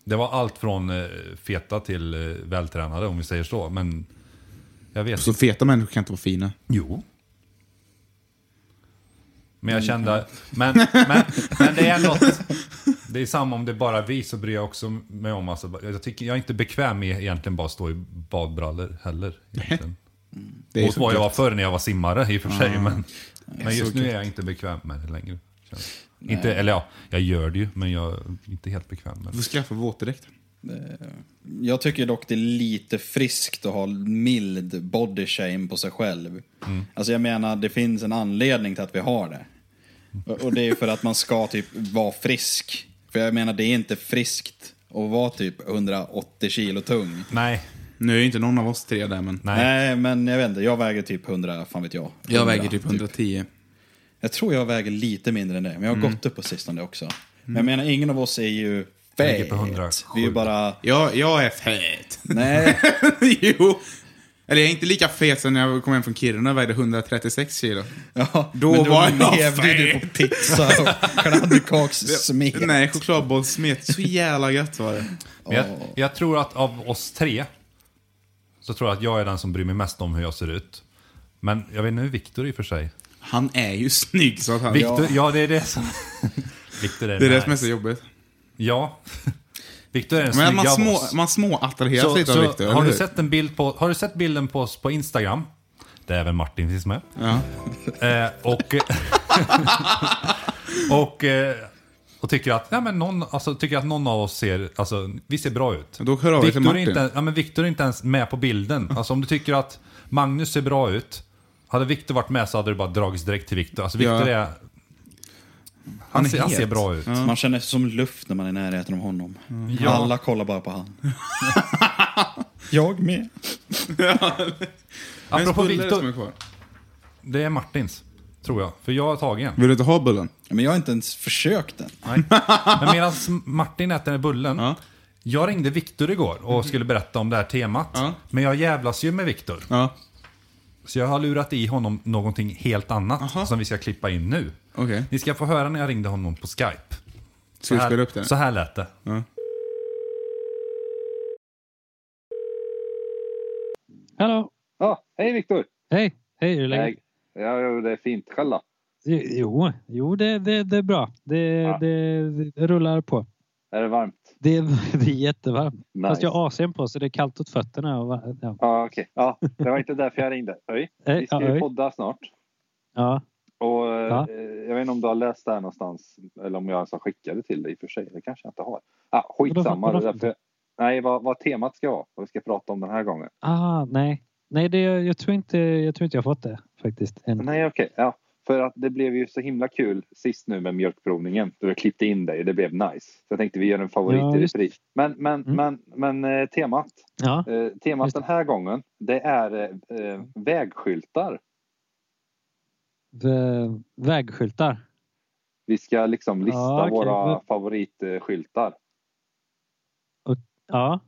Speaker 1: Det var allt från eh, feta till eh, vältränade om vi säger så. Men jag vet
Speaker 3: Så feta människor kan inte vara fina.
Speaker 1: Jo. Men jag
Speaker 3: Mm,
Speaker 1: kände, men, men, men det är något, det är samma om det är bara vi så bryr jag också mig om, alltså, jag, tycker, jag är inte bekväm med egentligen bara att stå i badbrallor heller. Egentligen.
Speaker 3: Det är
Speaker 1: Mot
Speaker 3: så
Speaker 1: vad jag
Speaker 3: gött.
Speaker 1: var förr när jag var simmare i och för sig, men, men
Speaker 3: så
Speaker 1: just nu
Speaker 3: gött.
Speaker 1: är jag inte bekväm med det längre. känner jag. Inte, eller ja, jag gör det ju, men jag är inte helt bekväm med
Speaker 3: Du
Speaker 1: det.
Speaker 3: får skaffa våtdräkt.
Speaker 2: Jag tycker dock det är lite friskt att ha mild body shame på sig själv.
Speaker 1: Mm.
Speaker 2: Alltså jag menar, det finns en anledning till att vi har det. Och- Och det är för att man ska typ vara frisk. För jag menar, det är inte friskt och var typ 180 kilo tung.
Speaker 1: Nej.
Speaker 3: Nu är ju inte någon av oss tre där, men...
Speaker 1: Nej.
Speaker 2: Nej, men jag vet inte. Jag väger typ 100, fan vet jag. 100,
Speaker 3: Jag väger typ 110.
Speaker 2: Jag tror jag väger lite mindre än det, men jag har
Speaker 3: Mm.
Speaker 2: gått upp på sistone också. Men jag menar, ingen av oss är ju
Speaker 1: Väger
Speaker 2: fet.
Speaker 1: på 107.
Speaker 2: Vi är ju bara...
Speaker 3: Jag, jag är fet.
Speaker 2: Nej,
Speaker 3: jo. Eller jag är inte lika fet som när jag kom hem från Kiruna och vägde 136 kilo.
Speaker 2: ja,
Speaker 3: Då
Speaker 2: men
Speaker 3: var jag
Speaker 2: levde ju du på pizza och kladdkakssmet.
Speaker 3: Nej, chokladbollssmet. Så jävla gött var det.
Speaker 1: Men jag, jag tror att av oss tre så tror jag att jag är den som bryr mig mest om hur jag ser ut. Men jag vet inte hur Viktor är i och för sig.
Speaker 3: Han är ju snygg så att han...
Speaker 1: Viktor, ja. det är det som... Viktor är
Speaker 3: Det är det
Speaker 1: nice.
Speaker 3: som är så jobbigt.
Speaker 1: Ja. Viktor är den
Speaker 3: Men man,
Speaker 1: snygga av
Speaker 3: små,
Speaker 1: oss.
Speaker 3: man småattraheras
Speaker 1: Så,
Speaker 3: lite
Speaker 1: så
Speaker 3: av Viktor,
Speaker 1: har,
Speaker 3: eller
Speaker 1: du
Speaker 3: hur?
Speaker 1: sett en bild på, har du sett bilden på oss på Instagram? Där även Martin finns med.
Speaker 3: Ja.
Speaker 1: Eh, och, och, eh, och tycker, att, ja, men någon, alltså, tycker att någon av oss ser, alltså, vi ser bra ut.
Speaker 3: Då hör av er
Speaker 1: Viktor
Speaker 3: till
Speaker 1: är,
Speaker 3: Martin.
Speaker 1: inte, ja, men Victor är inte ens med på bilden. Alltså, om du tycker att Magnus ser bra ut, hade Viktor varit med så hade du bara dragits direkt till Viktor. Alltså, Viktor
Speaker 3: Ja.
Speaker 1: är... Han,
Speaker 3: är
Speaker 1: ser, han ser
Speaker 3: het.
Speaker 1: bra ut.
Speaker 2: Man känner sig som luft när man är i närheten av honom.
Speaker 3: Mm.
Speaker 1: Ja.
Speaker 2: Alla kollar bara på han. jag med.
Speaker 3: Vems
Speaker 1: Apropå
Speaker 3: bulle är det som
Speaker 1: Viktor,
Speaker 3: är kvar?
Speaker 1: det är Martins. Tror jag. För jag har tagit en.
Speaker 3: Vill du inte ha bullen?
Speaker 2: Men jag har inte ens försökt än.
Speaker 1: Nej. Men medan Martin äter den här bullen.
Speaker 3: Ja.
Speaker 1: Jag ringde Viktor igår och skulle berätta om det här temat.
Speaker 3: Ja.
Speaker 1: Men jag jävlas ju med Viktor.
Speaker 3: Ja,
Speaker 1: Så jag har lurat i honom någonting helt annat som vi ska klippa in nu.
Speaker 3: okej.
Speaker 1: Ni ska få höra när jag ringde honom på Skype.
Speaker 3: Ska vi spela upp
Speaker 1: så
Speaker 3: det?
Speaker 1: här lät det.
Speaker 5: Hallå!
Speaker 6: Ja, hej Viktor!
Speaker 5: Hej! Hej, hur är läget?
Speaker 6: Hej. Ja, jo, det är fint. Själv då?
Speaker 5: Jo, jo det, det, det är bra. Det,
Speaker 6: Ja.
Speaker 5: det, det rullar på.
Speaker 6: Är det varmt?
Speaker 5: Det, är- det är jättevarmt.
Speaker 6: Nice.
Speaker 5: Fast jag har AC'n på så det är kallt åt fötterna. Och, va- ja.
Speaker 6: Ja, okej. Ja, det var inte därför jag ringde. Hej. Vi
Speaker 5: Hej,
Speaker 6: ska ju
Speaker 5: hej.
Speaker 6: podda snart.
Speaker 5: ja.
Speaker 6: Och eh,
Speaker 5: Ja.
Speaker 6: jag vet inte om du har läst det här någonstans. Eller om jag ens har skickat det till dig i och för sig. Det kanske jag inte har. Ah, skitsamma.
Speaker 5: Vadå
Speaker 6: Det
Speaker 5: för-
Speaker 6: är därför... Nej, vad, vad temat ska vara. Vad vi ska prata om den här gången.
Speaker 5: Ah, nej. Nej, det, jag, tror inte, jag tror inte jag har fått det faktiskt. Än.
Speaker 6: Nej, okej. Ja, för att det blev ju så himla kul sist nu med mjölkprovningen. Då jag klippte in dig. Det blev nice. Så jag tänkte vi gör en favorit
Speaker 5: Ja,
Speaker 6: i
Speaker 5: just-
Speaker 6: repris. Men, men,
Speaker 5: Mm.
Speaker 6: men, men eh, temat.
Speaker 5: Ja.
Speaker 6: Eh, temat
Speaker 5: Just det.
Speaker 6: den här gången det är eh, eh, vägskyltar.
Speaker 5: V- Vägskyltar.
Speaker 6: Vi ska liksom lista
Speaker 5: Ja, Ah, okej.
Speaker 6: våra
Speaker 5: Men-
Speaker 6: favoritskyltar.
Speaker 5: Ja.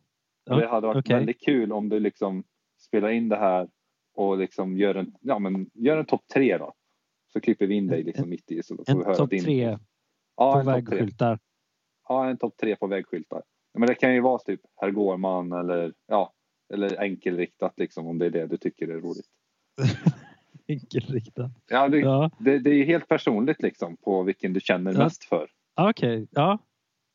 Speaker 5: Ja,
Speaker 6: Och det hade varit
Speaker 5: okej.
Speaker 6: väldigt kul om du liksom spelar in det här och liksom gör en, ja, men gör en topp tre då. Så klipper vi in dig liksom mitt i så då får vi
Speaker 5: En
Speaker 6: höra
Speaker 5: topp
Speaker 6: din.
Speaker 5: tre
Speaker 6: ja,
Speaker 5: på
Speaker 6: en topp tre.
Speaker 5: vägskyltar.
Speaker 6: Ja, en topp tre på vägskyltar. Men det kan ju vara typ Herr Gårman eller ja, eller enkelriktat liksom om det är det du tycker är roligt.
Speaker 5: Enkelriktat.
Speaker 6: Ja, det,
Speaker 5: Ja.
Speaker 6: det, det är ju helt personligt liksom på vilken du känner
Speaker 5: Ja.
Speaker 6: mest för.
Speaker 5: Ah, Okej. Ja.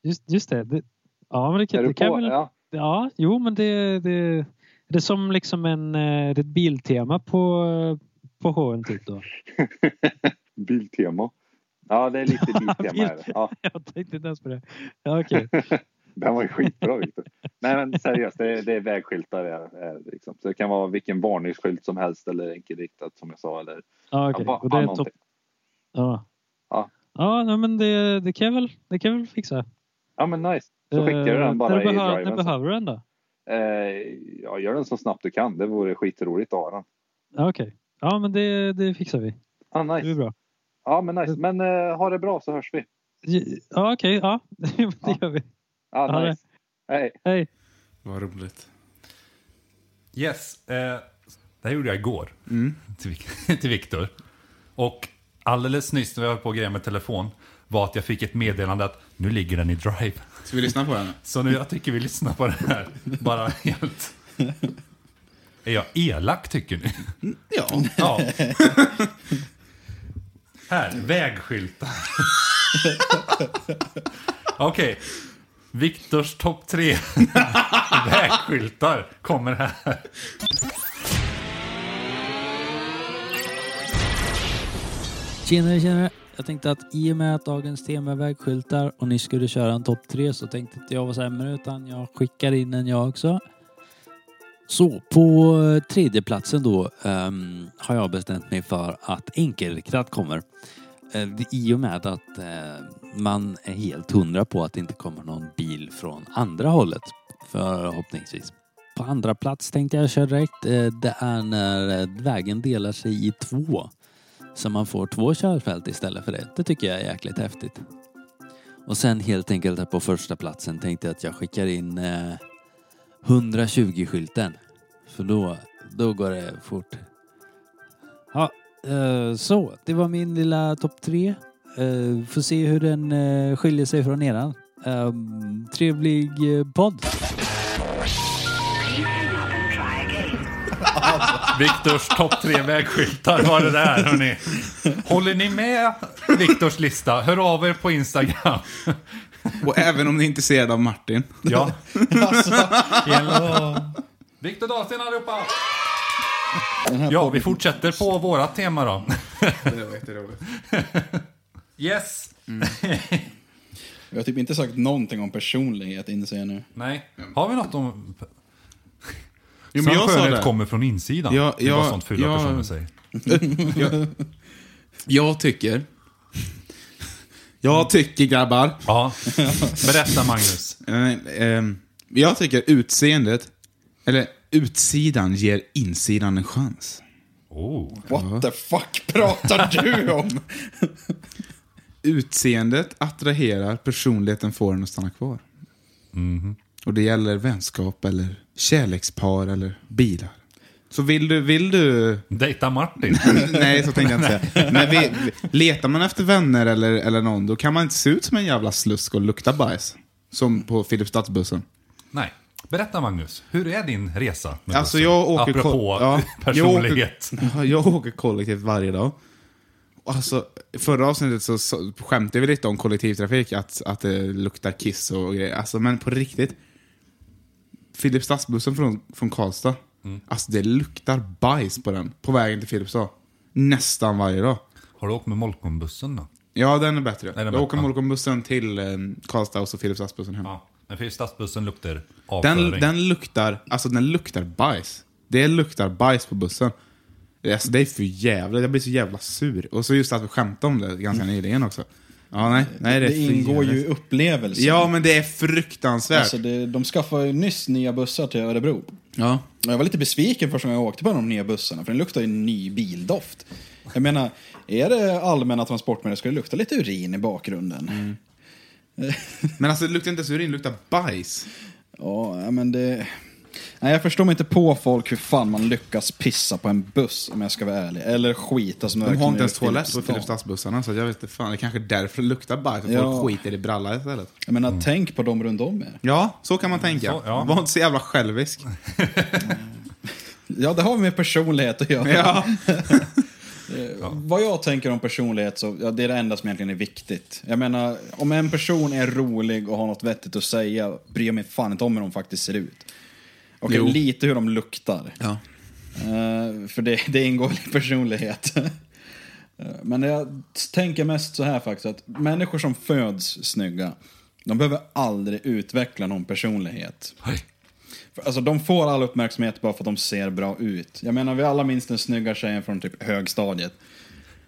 Speaker 5: Just, just det. det. Ja, men det
Speaker 6: Är
Speaker 5: kan,
Speaker 6: du
Speaker 5: det
Speaker 6: på?
Speaker 5: kan jag väl
Speaker 6: Ja.
Speaker 5: Ja, jo men det, det, det är som liksom en, eh, det är ett biltema på, på H&M typ då.
Speaker 6: Biltema. Ja, det är lite biltema. är det. ja,
Speaker 5: Jag tänkte inte ens på det. Ja, okej.
Speaker 6: den var ju skitbra, Victor. Nej, men seriöst, det är, det är vägskyltar. Är, är det liksom. Så det kan vara vilken varningsskylt som helst eller enkelriktat som jag sa. Eller,
Speaker 5: Ja,
Speaker 6: ja,
Speaker 5: okej.
Speaker 6: bara-
Speaker 5: Och det
Speaker 6: ja,
Speaker 5: är
Speaker 6: någonting.
Speaker 5: topp... Ja.
Speaker 6: Ja.
Speaker 5: Ja, nej, men det, det kan jag väl, det kan jag väl fixa.
Speaker 6: ja, men nice. Så skickar du
Speaker 5: Eh,
Speaker 6: den bara
Speaker 5: när
Speaker 6: i
Speaker 5: behö- När
Speaker 6: driven. sen.
Speaker 5: behöver du den då?
Speaker 6: Eh, ja, gör den så snabbt du kan. Det vore skitroligt att ha den.
Speaker 5: Ja, okej. Ja, men det, det fixar vi.
Speaker 6: Ah,
Speaker 5: Det blir
Speaker 6: nice.
Speaker 5: bra.
Speaker 6: Ja, men nice. Men eh, ha det bra så hörs vi.
Speaker 5: Ja, okej. Ja,
Speaker 6: Ja.
Speaker 5: det gör vi.
Speaker 6: Ah,
Speaker 5: Ha det.
Speaker 6: nice. Hej.
Speaker 5: Hej.
Speaker 3: Vad roligt.
Speaker 1: Yes. Eh, det här gjorde jag igår.
Speaker 3: Mm.
Speaker 1: Till, Vik- till Viktor. Och alldeles nyss när jag höll på och grejade med telefon var att jag fick ett meddelande att nu ligger den i drive.
Speaker 3: Ska vi lyssna på den?
Speaker 1: Så nu jag tycker vi lyssnar på det här. Bara helt... Är jag elak tycker ni?
Speaker 3: Ja.
Speaker 1: Ja. Här, vägskyltar. Okej. Viktors topp tre vägskyltar kommer här.
Speaker 7: Tjenare, tjenare. Jag tänkte att i och med att dagens tema är vägskyltar och ni skulle köra en topp tre så tänkte inte jag vara sämre utan jag skickar in en jag också. Så på eh, tredje platsen då ehm, har jag bestämt mig för att enkelriktat kommer. eh, det- i och med att eh, man är helt hundra på att det inte kommer någon bil från andra hållet. Förhoppningsvis. På andra plats tänkte jag köra direkt. eh, Det är när eh, vägen delar sig i två. Så man får två körfält istället för det. Det tycker jag är jäkligt häftigt. Och sen helt enkelt här på första platsen tänkte jag att jag skickar in eh, 120-skylten. För då, då går det fort. Ja, eh, så, det var min lilla topp tre. Eh, får se hur den eh, skiljer sig från eran. Eh, trevlig eh, podd.
Speaker 1: Viktors topp tre vägskyltar var det där hörni. Håller ni med Viktors lista? Hör av er på Instagram.
Speaker 3: Och även om ni är intresserade av Martin.
Speaker 1: Ja. Alltså, Viktor Dahlsten allihopa! Ja, vi fortsätter på våra tema då.
Speaker 3: Det var jätteroligt.
Speaker 1: Yes!
Speaker 2: Jag har typ inte sagt någonting om personlighet inser jag nu.
Speaker 1: Nej. Har vi något om...
Speaker 3: Jo, men
Speaker 1: Sann
Speaker 3: jag sa
Speaker 1: skönhet
Speaker 3: det.
Speaker 1: kommer från insidan.
Speaker 3: Ja,
Speaker 1: det var
Speaker 3: ja,
Speaker 1: sånt fula
Speaker 3: ja.
Speaker 1: personer säger.
Speaker 3: jag, jag tycker... Jag tycker, grabbar.
Speaker 1: Ja. Berätta Magnus.
Speaker 3: Nej, ehm, jag tycker utseendet, eller utsidan, ger insidan en chans.
Speaker 1: Oh.
Speaker 2: What the fuck pratar du om?
Speaker 3: Utseendet attraherar, personligheten får den att stanna kvar. Och det gäller vänskap, eller kärlekspar, eller bilar. Så vill du, vill du
Speaker 1: Dejta Martin.
Speaker 3: Nej, så tänkte jag inte säga. Men vi, vi- letar man efter vänner eller, eller någon, då kan man inte se ut som en jävla slusk och lukta bajs. Som på Filipstadsbussen.
Speaker 1: Nej. Berätta Magnus, hur är din resa? med
Speaker 3: Alltså
Speaker 1: bussen?
Speaker 3: jag åker...
Speaker 1: Apropå
Speaker 3: ko- ja,
Speaker 1: personlighet.
Speaker 3: Jag åker, jag åker kollektivt varje dag. Och Alltså, förra avsnittet så, så skämtade vi lite om kollektivtrafik, att, att det luktar kiss och grejer. Alltså, men på riktigt. Filipstadsbussen från, från Karlstad.
Speaker 1: Mm.
Speaker 3: Alltså det luktar bajs på den, på vägen till Filipstad. Nästan varje dag.
Speaker 1: Har du åkt med Molkombussen då?
Speaker 3: Ja, den är bättre.
Speaker 1: den
Speaker 3: jag
Speaker 1: bättre?
Speaker 3: åker Molkombussen till eh, Karlstad och så Filipstadsbussen hem.
Speaker 1: Ja. Men för stadsbussen luktar
Speaker 3: den,
Speaker 1: avföring.
Speaker 3: den luktar, alltså den luktar bajs. Det luktar bajs på bussen. Alltså det är för jävla, jag blir så jävla sur. Och så just att vi skämtade om det ganska
Speaker 1: Mm.
Speaker 3: nyligen också. Ja, nej, nej det
Speaker 2: Det,
Speaker 3: är för
Speaker 2: ingår ju
Speaker 3: jävligt.
Speaker 2: i upplevelsen.
Speaker 3: Ja, men det är fruktansvärt.
Speaker 2: Alltså det, de skaffade ju nyss nya bussar till Örebro.
Speaker 3: ja.
Speaker 2: Men Jag var lite besviken första gången jag åkte på de nya bussarna, för den luktar ju ny bildoft. Jag menar, är det allmänna transportmedel ska det lukta lite urin i bakgrunden.
Speaker 3: Mm. Men alltså det luktar inte ens urin, det luktar bajs.
Speaker 2: Ja, ja, men det... Nej, jag förstår mig inte på folk hur fan man lyckas pissa på en buss om jag ska vara ärlig. Eller skita som
Speaker 3: De har inte ens
Speaker 2: verkligen gör i
Speaker 3: toalett på Filipstadsbussarna, så jag vet inte fan. Det kanske är därför det luktar bajs, att
Speaker 2: Ja.
Speaker 3: folk skiter i brallan istället.
Speaker 2: Jag menar, tänk på dem runt om er.
Speaker 3: Ja, så kan man tänka.
Speaker 1: Så, ja.
Speaker 3: Var inte så jävla självisk.
Speaker 2: Ja, det har med personlighet att göra.
Speaker 3: Ja.
Speaker 2: Vad jag tänker om personlighet, så, ja, det är det enda som egentligen är viktigt. Jag menar, om en person är rolig och har något vettigt att säga, bryr jag mig fan inte om hur de faktiskt ser ut. Okej,
Speaker 3: Jo.
Speaker 2: lite hur de luktar.
Speaker 3: Ja.
Speaker 2: Eh, för det, det ingår i personlighet. Eh, Men jag tänker mest så här faktiskt, att människor som föds snygga, de behöver aldrig utveckla någon personlighet.
Speaker 1: Hej.
Speaker 2: För, Alltså de får all uppmärksamhet bara för att de ser bra ut. Jag menar vi alla minns den snygga tjejen från typ högstadiet.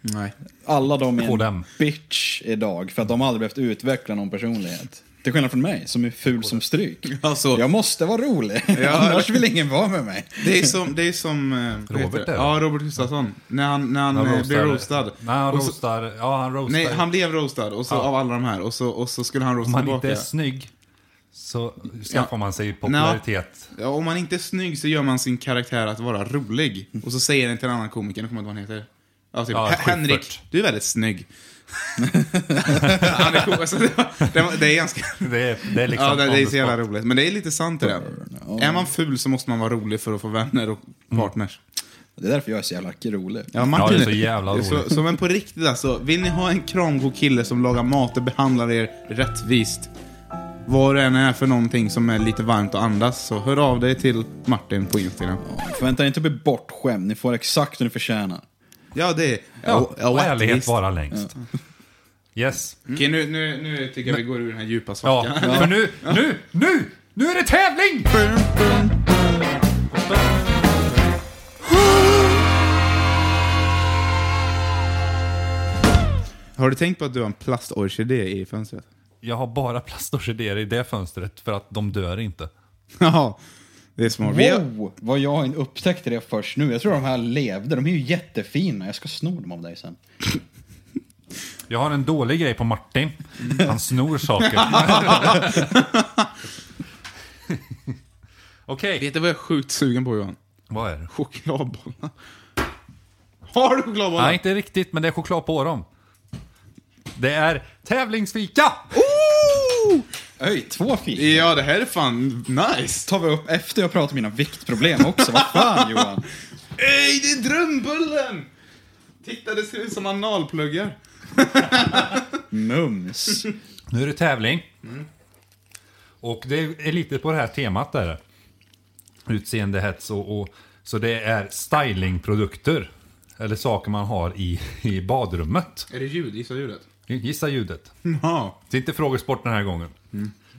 Speaker 3: Nej.
Speaker 2: Alla de
Speaker 1: På
Speaker 2: är en
Speaker 1: dem.
Speaker 2: bitch idag för att de aldrig behövt utveckla någon personlighet. Till skillnad från mig som är ful som stryk.
Speaker 3: Alltså,
Speaker 2: Jag måste vara rolig, annars vill ingen vara med mig.
Speaker 3: det är som... Det är som eh, vad heter
Speaker 1: Robert
Speaker 3: det?
Speaker 1: är det?
Speaker 3: Ja, Robert Gustafsson. När han, när han,
Speaker 1: Han
Speaker 3: eh, blir
Speaker 1: roastar-
Speaker 3: roastad.
Speaker 1: Nej, han
Speaker 3: Och så-
Speaker 1: roastar. Ja, han roastar.
Speaker 3: Nej, han blev roastad och så, av alla de här och så, och så skulle han roasta
Speaker 1: Om man
Speaker 3: tillbaka.
Speaker 1: inte är snygg så skaffar man sig popularitet.
Speaker 3: ja, om man inte är snygg så gör man sin karaktär att vara rolig. Och så säger den till en annan komiker, nu kommer jag inte ihåg vad han heter. Ja, typ,
Speaker 1: Ja,
Speaker 3: "Hen- Henrik,
Speaker 1: Schyffert.
Speaker 3: du är väldigt snygg. han är cool. alltså, det, var, det, var, det är ganska...
Speaker 1: Det, är, det är liksom
Speaker 3: ja, det, det
Speaker 1: on
Speaker 3: är
Speaker 1: the
Speaker 3: så jävla
Speaker 1: spot.
Speaker 3: roligt. Men det är lite sant det där. Är man ful så måste man vara rolig för att få vänner och partners.
Speaker 2: Det är därför jag är så jävla rolig.
Speaker 3: Ja, Martin,
Speaker 1: Ja, det är så jävla
Speaker 3: det är
Speaker 1: roligt.
Speaker 3: Så, så men på riktigt alltså, vill ni ha en kramgod kille som lagar mat och behandlar er rättvist, vad det än är för någonting som är lite varmt att andas, så hör av dig till Martin på Instagram.
Speaker 2: Förvänta er inte att bli bortskämd, ni får exakt vad ni förtjänar.
Speaker 3: Ja, det är...
Speaker 1: Ja,
Speaker 3: ja,
Speaker 1: och ärlighet
Speaker 3: rättvist.
Speaker 1: vara längst. Yes.
Speaker 3: Okej, nu, nu, nu tycker jag vi går ur den här djupa
Speaker 1: Ja,
Speaker 3: svackan.
Speaker 1: för nu, nu, nu, nu är det tävling!
Speaker 3: Har Har du tänkt på att du har en plastorkidé i fönstret?
Speaker 1: Jag har bara plastorkidéer i det fönstret för att de dör inte.
Speaker 3: Ja, det är smart. Vi har,
Speaker 2: Wow, vad jag upptäckte det först nu. Jag tror de här levde. De är ju jättefina. Jag ska sno dem av dig sen.
Speaker 1: Jag har en dålig grej på Martin. Han snor saker. Okej,
Speaker 3: vet du vad jag är sjukt sugen på Johan?
Speaker 1: vad är det?
Speaker 3: Chokladbollar. Har du chokladbollar?
Speaker 1: Nej, inte riktigt, men det är choklad på dem. Det är tävlingsfika!
Speaker 3: Oh!
Speaker 2: Öj, två fik.
Speaker 3: Ja, det här är fan nice.
Speaker 2: tar vi upp efter jag pratat om mina viktproblem också. Vad fan Johan?
Speaker 3: Ey, det är drömbullen! Titta, det ser ut som analpluggar.
Speaker 2: Mums.
Speaker 1: Nu är det tävling. Och det är lite på det här temat där. Utseendehets och, och så det är stylingprodukter. Eller saker man har i, i badrummet.
Speaker 3: Är det ljud? Gissa ljudet.
Speaker 1: Gissa ljudet.
Speaker 3: Ja.
Speaker 1: Det är inte frågesport den här gången.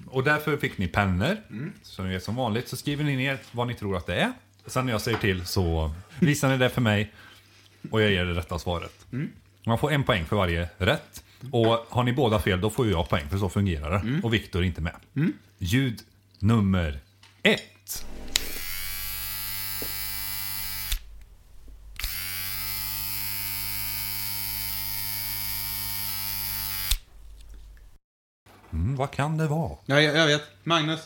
Speaker 1: Och därför fick ni pennor. Som är som vanligt så skriver ni ner vad ni tror att det är. Sen när jag säger till så visar ni det för mig. Och jag ger det rätta svaret. Man får en poäng för varje rätt. Och har ni båda fel då får ju jag poäng för så fungerar det. Och Viktor är inte med. Ljud nummer ett. Mm, vad kan det vara?
Speaker 3: ja jag, jag vet. Magnus.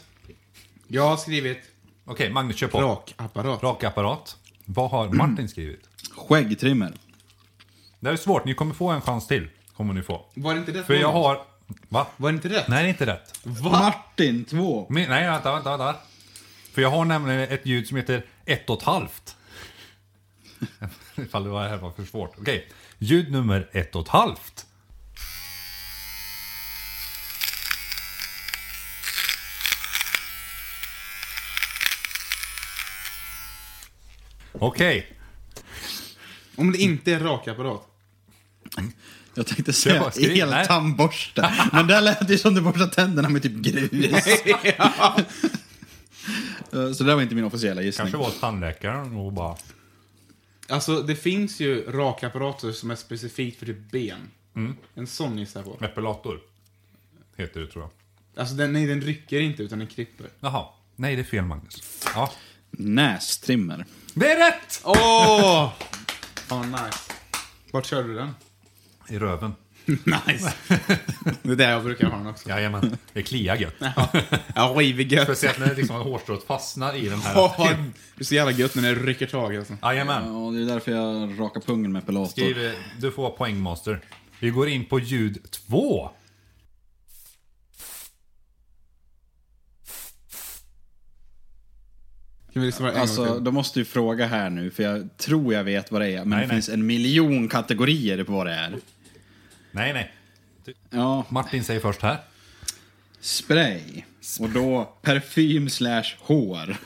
Speaker 3: Jag har skrivit
Speaker 1: Okej, Magnus kör på.
Speaker 3: rakapparat.
Speaker 1: Rakapparat. Vad har Martin skrivit?
Speaker 2: Skäggtrimmer.
Speaker 1: Det här är svårt, ni kommer få en chans till. Kommer ni få.
Speaker 3: Var det inte rätt?
Speaker 1: För jag
Speaker 3: Magnus?
Speaker 1: har... Va?
Speaker 3: Var det inte rätt?
Speaker 1: Nej, det är inte rätt.
Speaker 3: Va?
Speaker 2: Martin, två.
Speaker 1: Men, nej, vänta, vänta, vänta. För jag har nämligen ett ljud som heter ett och ett halvt. Ifall det var- det här var för svårt. Okej, ljud nummer ett och ett halvt. Okej,
Speaker 3: Om det inte är rakapparat.
Speaker 2: Jag tänkte
Speaker 1: Det
Speaker 2: säga
Speaker 1: var skriv,
Speaker 2: el
Speaker 1: nej.
Speaker 2: tandborste. Men där lät det ju som du borstade tänderna med typ grus. Eh, Så det där var inte min officiella gissning.
Speaker 1: kanske var hos tandläkaren och bara...
Speaker 3: Alltså, det finns ju rakapparater som är specifikt för typ ben.
Speaker 1: Mm.
Speaker 3: En sån gissar jag på.
Speaker 1: Epilator. Heter det tror jag.
Speaker 3: Alltså, den, nej, den rycker inte, utan den klipper.
Speaker 1: Jaha. Nej, det är fel Magnus. Ja.
Speaker 2: Nästrimmer.
Speaker 1: Det är rätt!
Speaker 3: Åh! Oh! Fan, nice. Vart körde du den?
Speaker 1: I röven.
Speaker 3: Nice. Det är där jag brukar ha den också.
Speaker 1: Jajamän. Det kliar gött.
Speaker 3: Ja, rivig gött.
Speaker 1: Speciellt när liksom hårstrået fastnar i den här.
Speaker 3: Åh, det är så jävla gött när det rycker tag alltså.
Speaker 1: Jajamän.
Speaker 2: Ja, det är därför jag rakar pungen med pilator.
Speaker 1: Skriv, eh, du får vara poängmaster. Vi går in på ljud två.
Speaker 3: Kan vi lyssna på det en
Speaker 2: Alltså,
Speaker 3: gång till?
Speaker 2: då måste du fråga här nu, för jag tror jag vet vad det är. Men det
Speaker 1: nej.
Speaker 2: finns en miljon kategorier på vad det är.
Speaker 1: Nej, nej.
Speaker 2: Ja,
Speaker 1: Martin säger först här.
Speaker 2: spray. Och då parfym slash hår.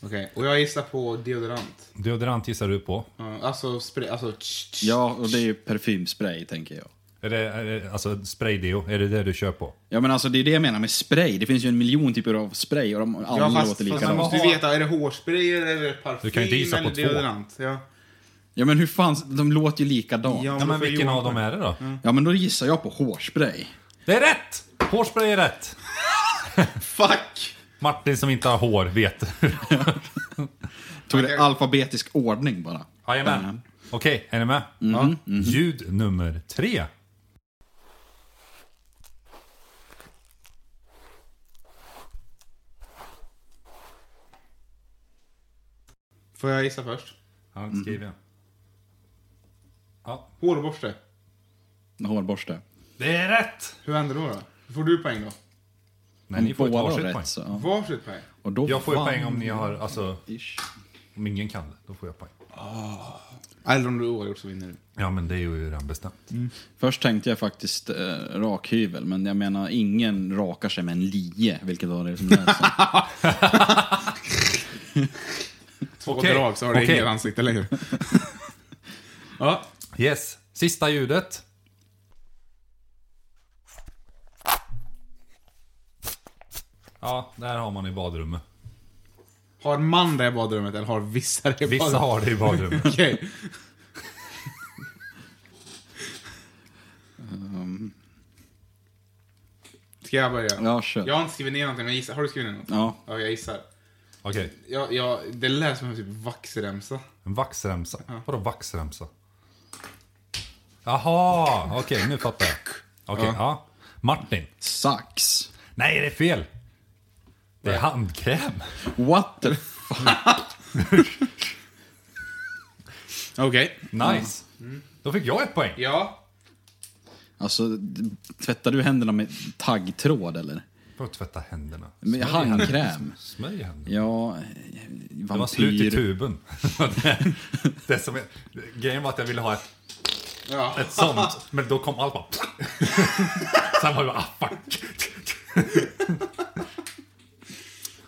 Speaker 3: Okej, och jag gissar på deodorant.
Speaker 1: Deodorant gissar du på.
Speaker 3: Ja, Alltså, spray, alltså... tsch, tsch.
Speaker 2: Ja, och det är ju parfymspray, tänker jag.
Speaker 1: Är det, är det, alltså spraydeo, är det det du kör på?
Speaker 2: Ja, men alltså det är det jag menar med spray. Det finns ju en miljon typer av spray och de alla
Speaker 3: Ja,
Speaker 2: låter
Speaker 3: fast, fast man
Speaker 2: likadant.
Speaker 3: måste ju veta, är det hårspray eller är det parfym
Speaker 1: Du kan ju inte gissa på
Speaker 3: eller
Speaker 1: två.
Speaker 3: deodorant? Ja.
Speaker 2: Ja, men hur fan, de låter ju likadant.
Speaker 1: Ja,
Speaker 2: Ja.
Speaker 1: men
Speaker 3: då får
Speaker 1: vilken
Speaker 3: Johan
Speaker 1: av dem är det då?
Speaker 2: men då gissar jag på hårspray.
Speaker 1: Det är rätt! Hårspray är rätt.
Speaker 3: Fuck!
Speaker 1: Martin som inte har hår vet.
Speaker 2: Tog det i alfabetisk ordning bara. Mm.
Speaker 1: Jajamän. Okej, är ni med? Ja. Ljud nummer tre.
Speaker 3: Får jag gissa först?
Speaker 1: Han skriver.
Speaker 2: Mm.
Speaker 3: Hårborste.
Speaker 2: Hårborste.
Speaker 1: Det är rätt!
Speaker 3: Hur händer då? då? Får du poäng då?
Speaker 1: Nej, ni får ett
Speaker 2: Båda har
Speaker 1: varsitt
Speaker 2: rätt,
Speaker 1: poäng.
Speaker 2: så, ja.
Speaker 3: Varsitt poäng?
Speaker 2: Och då
Speaker 1: Jag får ju
Speaker 2: vann-
Speaker 1: poäng om ni har, alltså,
Speaker 2: Ish.
Speaker 1: om ingen kan det. Då får jag poäng.
Speaker 3: Eller om du är oavgjort så vinner du.
Speaker 1: Ja, men det är ju redan bestämt.
Speaker 2: Först tänkte jag faktiskt eh, rakhyvel, men jag menar ingen rakar sig med en lie, vilket var det som lät som.
Speaker 3: Två
Speaker 1: Okej.
Speaker 3: drag så har du
Speaker 1: Okej.
Speaker 3: inget ansikte längre. ja.
Speaker 1: Yes, sista ljudet. Ja, där har man i badrummet.
Speaker 3: Har man det i badrummet eller har vissa det i badrummet?
Speaker 1: Vissa har det i badrummet.
Speaker 3: Okej. Um. Ska jag börja?
Speaker 2: Ja, kör.
Speaker 3: Jag har inte skrivit ner någonting, men jag gissar. Har du skrivit ner något?
Speaker 2: Ja.
Speaker 3: Ja, jag gissar.
Speaker 1: Okej,
Speaker 3: Jag, jag, det lät som en typ vaxremsa.
Speaker 1: en vaxremsa. Vadå vaxremsa? Jaha, okej nu fattar jag. Okej, ja. Martin.
Speaker 2: Sax.
Speaker 1: Nej, det är fel. Det är handkräm.
Speaker 2: What the f-
Speaker 3: Okej.
Speaker 1: Nice. Då fick jag ett poäng.
Speaker 3: Ja.
Speaker 2: Alltså, tvättar du händerna med taggtråd eller?
Speaker 1: För att tvätta händerna.
Speaker 2: Med
Speaker 1: Smörj händerna.
Speaker 2: handkräm?
Speaker 1: Smörj händerna.
Speaker 2: Ja, eh,
Speaker 1: Det var slut i
Speaker 2: vampyr.
Speaker 1: tuben. det, det som är, grejen var att jag ville ha ett,
Speaker 3: Ja.
Speaker 1: ett sånt, men då kom allt bara... Sen var det bara, ah, fuck.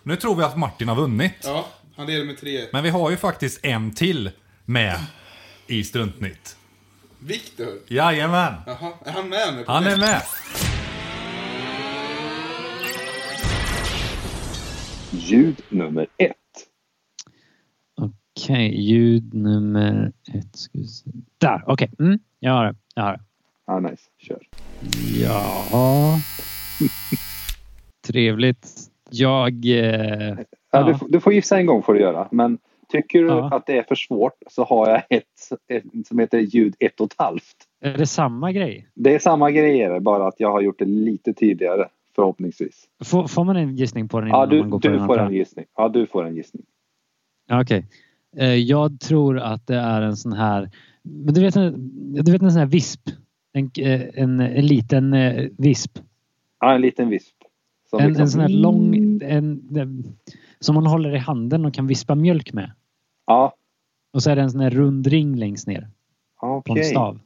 Speaker 1: nu tror vi att Martin har vunnit.
Speaker 3: ja. Han leder med tre.
Speaker 1: Men vi har ju faktiskt en till med i Struntnytt.
Speaker 3: Viktor.
Speaker 1: Jajamän,
Speaker 3: Jaha. Är han med nu?
Speaker 1: han är med.
Speaker 6: Ljud nummer ett.
Speaker 5: Okej, ljud nummer ett. Ska vi se. Där, okej. Mm, jag har det. Jag har det.
Speaker 6: Ah, nice. Kör.
Speaker 5: Ja. Trevligt. Jag... Eh,
Speaker 6: Ja.
Speaker 5: Ja.
Speaker 6: du, f- du får gissa en gång får du göra. Men tycker du
Speaker 5: Ja.
Speaker 6: att det är för svårt så har jag ett, ett som heter ljud ett och ett halvt.
Speaker 5: är det samma grej?
Speaker 6: Det är samma grejer, bara att jag har gjort det lite tydligare förhoppningsvis.
Speaker 5: Får, får man en gissning på den innan
Speaker 6: Ja, du,
Speaker 5: man går på
Speaker 6: du
Speaker 5: den
Speaker 6: får
Speaker 5: andra?
Speaker 6: en gissning. Ja, du får en gissning.
Speaker 5: Ja, Okej. Eh, Jag tror att det är en sån här... Men du vet en, du vet en sån här visp? En, eh, en, en liten eh, visp.
Speaker 6: Ja, en liten visp. Som
Speaker 5: En,
Speaker 6: liksom-
Speaker 5: en sån här lång... En, en, som man håller i handen och kan vispa mjölk med.
Speaker 6: Ja,
Speaker 5: Och så är det en sån här rund ring längst ner. På en
Speaker 6: okej.
Speaker 5: stav.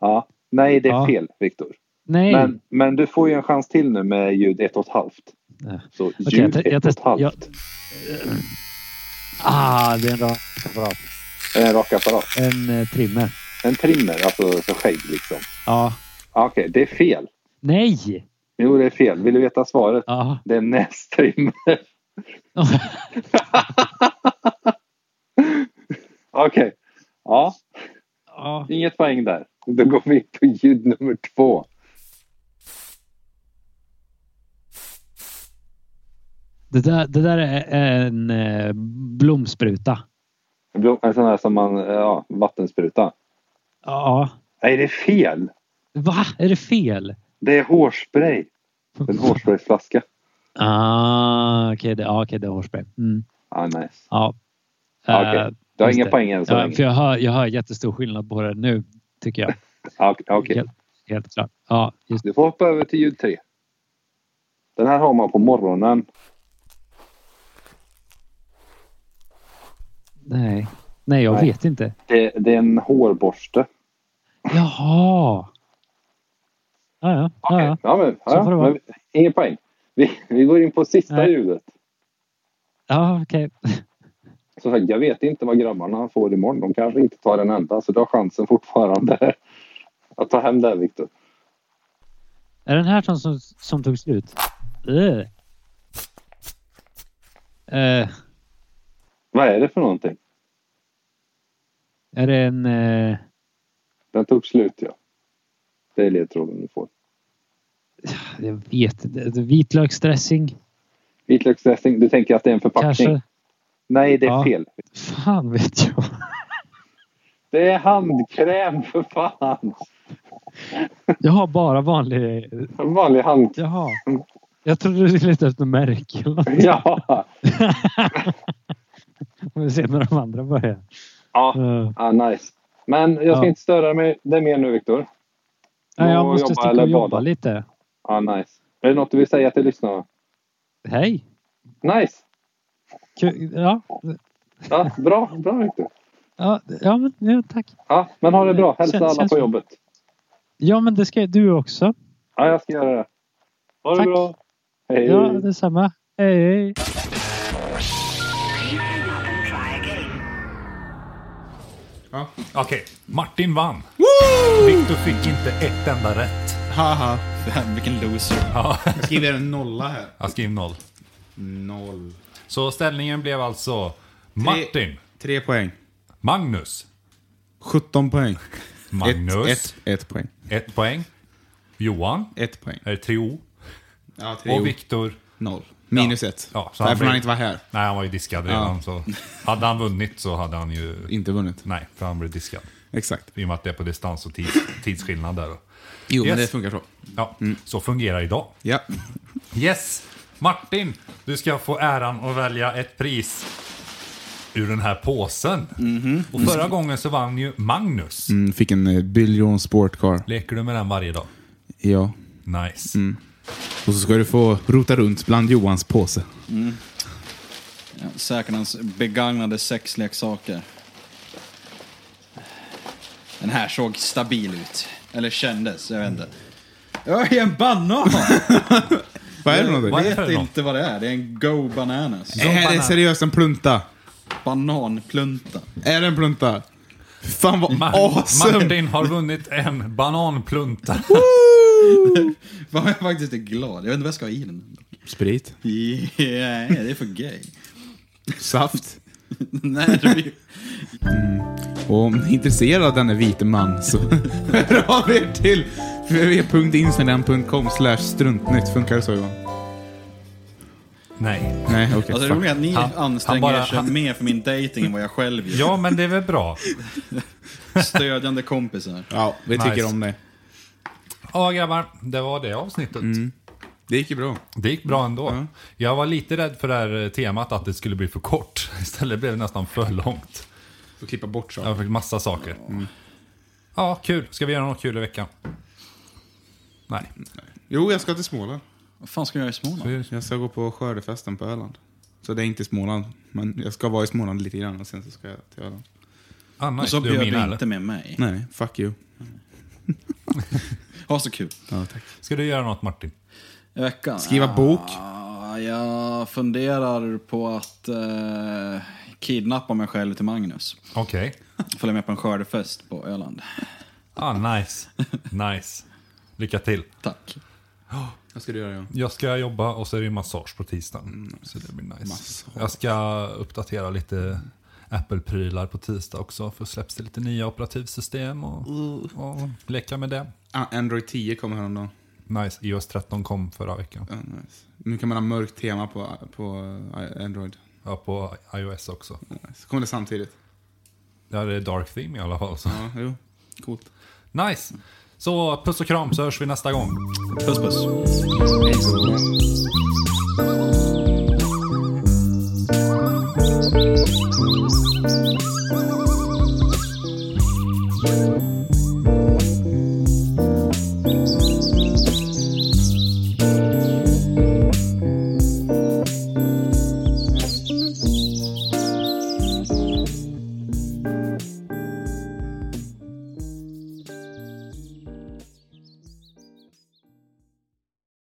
Speaker 6: Ja. Nej, det är
Speaker 5: Ja.
Speaker 6: fel, Viktor.
Speaker 5: Nej!
Speaker 6: Men, men du får ju en chans till nu med ljud ett och ett halvt.
Speaker 5: Ja.
Speaker 6: Så ljud
Speaker 5: jag te- jag
Speaker 6: ett och ett
Speaker 5: testar-
Speaker 6: halvt.
Speaker 5: jag- Ah, det är en rak apparat.
Speaker 6: En rakapparat.
Speaker 5: En eh, trimmer.
Speaker 6: En trimmer, alltså så skägg liksom.
Speaker 5: Ja.
Speaker 6: Ja, Okej, det är fel.
Speaker 5: Nej!
Speaker 6: Jo, det är fel. Vill du veta svaret?
Speaker 5: Ja.
Speaker 6: Det är nästrimmer. Okej. Ja,
Speaker 5: ja.
Speaker 6: inget poäng där. Då går vi in på ljud nummer två.
Speaker 5: Det, där, det där är en eh, blomspruta.
Speaker 6: Blom- En sån här som man, ja, vattenspruta.
Speaker 5: Ja.
Speaker 6: Nej, det är fel.
Speaker 5: Va? Är det fel?
Speaker 6: Det är hårspray. En hårsprayflaska.
Speaker 5: Ah, okej. det, ja, okej, det är hårspray. Mm.
Speaker 6: Ja, Ah, nice.
Speaker 5: Ja.
Speaker 6: Ja, okej.
Speaker 5: Eh,
Speaker 6: Du har
Speaker 5: just
Speaker 6: inga
Speaker 5: det.
Speaker 6: poäng än så
Speaker 5: Ja,
Speaker 6: länge.
Speaker 5: för jag, hör, jag hör jättestor skillnad på det nu, tycker jag.
Speaker 6: Ja, Okej. Ah, okej.
Speaker 5: Helt, helt klart. Ja, just
Speaker 6: Du får hoppa över till ljud tre. Den här har man på morgonen.
Speaker 5: Nej. Nej, jag
Speaker 6: Nej.
Speaker 5: vet inte.
Speaker 6: Det, det är en hårborste.
Speaker 5: Jaha! Ja, ja. ja, ja.
Speaker 6: Ja, men, ja,
Speaker 5: får det vara.
Speaker 6: men, ingen poäng. Vi, vi går in på sista
Speaker 5: Nej.
Speaker 6: ljudet.
Speaker 5: ja okej.
Speaker 6: Som sagt, jag vet inte vad grabbarna får imorgon. De kanske inte tar en enda, så du har chansen fortfarande att ta hem det, här, Viktor.
Speaker 5: Är den här som, som, som tog slut? Ugh. Eh,
Speaker 6: Vad är det för någonting?
Speaker 5: är det en... eh,
Speaker 6: Den tog slut, ja. Det är ledtråden du får.
Speaker 5: jag vet inte. Vitlöksdressing?
Speaker 6: Vitlöksdressing. Du tänker att det är en förpackning?
Speaker 5: Kanske?
Speaker 6: Nej, det är
Speaker 5: Ja.
Speaker 6: fel.
Speaker 5: Fan vet jag.
Speaker 6: Det är handkräm, för fan!
Speaker 5: Jag har bara vanlig...
Speaker 6: En vanlig hand...
Speaker 5: Jaha. Jag trodde du letade efter märken. eller något.
Speaker 6: Ja!
Speaker 5: Om vi ser när de andra börjar.
Speaker 6: Ja,
Speaker 5: Eh,
Speaker 6: ah, nice. Men jag ska
Speaker 5: Ja.
Speaker 6: inte störa mig. det mer nu, Viktor.
Speaker 5: nej, jag
Speaker 6: Gå och
Speaker 5: måste
Speaker 6: jobba
Speaker 5: sticka
Speaker 6: eller
Speaker 5: och jobba
Speaker 6: bada.
Speaker 5: lite.
Speaker 6: Ah, nice. Är det något du vill säga till lyssnarna?
Speaker 5: Hej!
Speaker 6: Nice!
Speaker 5: Kul. Ja,
Speaker 6: Ja, bra, bra Viktor.
Speaker 5: ja, ja, men, ja, tack.
Speaker 6: Ja, men ha det bra. Hälsa
Speaker 5: Känns-
Speaker 6: alla
Speaker 5: känns
Speaker 6: på
Speaker 5: bra.
Speaker 6: jobbet.
Speaker 5: Ja, men det ska du också.
Speaker 6: Ja, jag ska göra det. Ha det
Speaker 5: Tack.
Speaker 6: bra. Hej.
Speaker 5: Ja, detsamma. Hej, hej.
Speaker 3: Ja.
Speaker 1: Okej, Martin vann. Victor fick inte ett enda rätt.
Speaker 3: Haha.
Speaker 2: Fan, Vilken loser.
Speaker 1: Ja,
Speaker 3: Jag skriver en nolla här.
Speaker 1: jag skrev noll.
Speaker 3: Noll.
Speaker 1: Så ställningen blev alltså Martin,
Speaker 3: Tre poäng.
Speaker 1: Magnus,
Speaker 3: 17 poäng.
Speaker 1: Magnus,
Speaker 3: Ett, ett, ett poäng.
Speaker 1: ett poäng. Johan,
Speaker 3: Ett poäng.
Speaker 1: är det tre O?
Speaker 3: Ja, tre
Speaker 1: Och
Speaker 3: ord.
Speaker 1: Viktor,
Speaker 3: Noll. Minus ett.
Speaker 1: Ja, så han
Speaker 3: Därför
Speaker 1: blir-
Speaker 3: han inte var här.
Speaker 1: nej han var ju diskad redan. Så hade han vunnit så hade han ju...
Speaker 3: Inte vunnit.
Speaker 1: Nej, för han blev diskad.
Speaker 3: Exakt.
Speaker 1: I och med att det är på distans och tids, tidsskillnad där.
Speaker 3: Jo, men
Speaker 1: Yes.
Speaker 3: det funkar så. Mm.
Speaker 1: Ja, så fungerar idag.
Speaker 3: Ja.
Speaker 1: Yes! Martin, du ska få äran att välja ett pris ur den här påsen. Och förra gången så vann ju Magnus.
Speaker 3: Mhm. Mm, fick en eh, biljon sportcar.
Speaker 1: Leker du med den varje dag?
Speaker 3: Ja.
Speaker 1: Nice.
Speaker 3: Mm. Och så ska du få rota runt bland Johans påse.
Speaker 2: Ja, Säkerhans begagnade sexleksaker. Den här såg stabil ut. Eller kändes, jag vet inte. Oj, en banan!
Speaker 3: Vad är det någonting?
Speaker 1: Vad
Speaker 2: Jag
Speaker 1: är det för
Speaker 2: vet
Speaker 1: något?
Speaker 2: inte vad det är. Det är en Go Bananas.
Speaker 3: Är det
Speaker 1: banan?
Speaker 3: seriöst en plunta?
Speaker 2: Bananplunta.
Speaker 3: Är det en plunta? Fan vad
Speaker 1: Ma-
Speaker 3: awesome!
Speaker 1: Martin har vunnit en bananplunta.
Speaker 2: Vad jag faktiskt är glad. Jag vet inte vad jag ska ha i den.
Speaker 3: Sprit.
Speaker 2: Yeah, det är för gay.
Speaker 3: Saft.
Speaker 2: Nej, det blir...
Speaker 3: Och om ni är intresserade av denne vite man så hör av er till www.instagram.com slash struntnytt. Funkar det så Johan?
Speaker 1: Nej.
Speaker 3: Nej, okej.
Speaker 2: Alltså det
Speaker 3: fuck.
Speaker 2: roliga är att ni
Speaker 1: Han- han
Speaker 2: anstränger
Speaker 1: bara-
Speaker 2: er sig
Speaker 1: han-
Speaker 2: mer för min dating än vad jag själv gör.
Speaker 1: Ja, men det är väl bra.
Speaker 2: Stödjande kompisar.
Speaker 3: ja, vi
Speaker 1: Nice.
Speaker 3: tycker om det.
Speaker 1: Ja, grabbar. Det var det avsnittet.
Speaker 2: Mm.
Speaker 3: Det gick ju bra.
Speaker 1: Det gick bra ändå. Jag var lite rädd för det här eh, temat att det skulle bli för kort. Istället blev det nästan för långt.
Speaker 3: Får klippa bort saker.
Speaker 1: Jag fick massa saker.
Speaker 2: Mm.
Speaker 1: Ja, kul. Ska vi göra något kul i veckan? Nej.
Speaker 3: Jo, jag ska till Småland.
Speaker 2: Vad fan ska jag göra i Småland?
Speaker 3: Jag ska gå på skördefesten på Öland. Så det är inte Småland, men jag ska vara i Småland lite grann och sen så ska jag till Öland.
Speaker 1: Ah, nice.
Speaker 2: Och så
Speaker 1: du är
Speaker 2: bjöd
Speaker 1: min
Speaker 2: du
Speaker 1: här.
Speaker 2: inte med mig.
Speaker 3: Nej, fuck you.
Speaker 2: Ha så kul.
Speaker 3: Ja, tack.
Speaker 1: Ska du göra något Martin?
Speaker 2: I veckan?
Speaker 3: Skriva bok.
Speaker 2: Ja, Ah, jag funderar på att eh, kidnappa mig själv till Magnus.
Speaker 1: Okej.
Speaker 2: Följa med på en skördefest på Öland.
Speaker 1: Ah, nice. Nice. Lycka till.
Speaker 2: Tack.
Speaker 3: Vad ska du göra Johan?
Speaker 1: Jag ska jobba och så är det ju massage på tisdagen. Så det blir nice.
Speaker 3: Massage.
Speaker 1: Jag ska uppdatera lite Apple-prylar på tisdag också. För släpps det lite nya operativsystem och, och leka med det.
Speaker 3: Ah, Android 10 kommer häromdagen.
Speaker 1: Nice. iOS 13 kom förra veckan.
Speaker 3: Ja, nice. Nu kan man ha mörkt tema på, på eh, Android.
Speaker 1: Ja, på iOS också.
Speaker 3: Nice. Kommer det samtidigt?
Speaker 1: Ja, det är dark theme i alla fall. Så.
Speaker 3: Ja, jo. Coolt.
Speaker 1: Nice. Så puss och kram så hörs vi nästa gång.
Speaker 2: Puss puss.
Speaker 3: Hej då.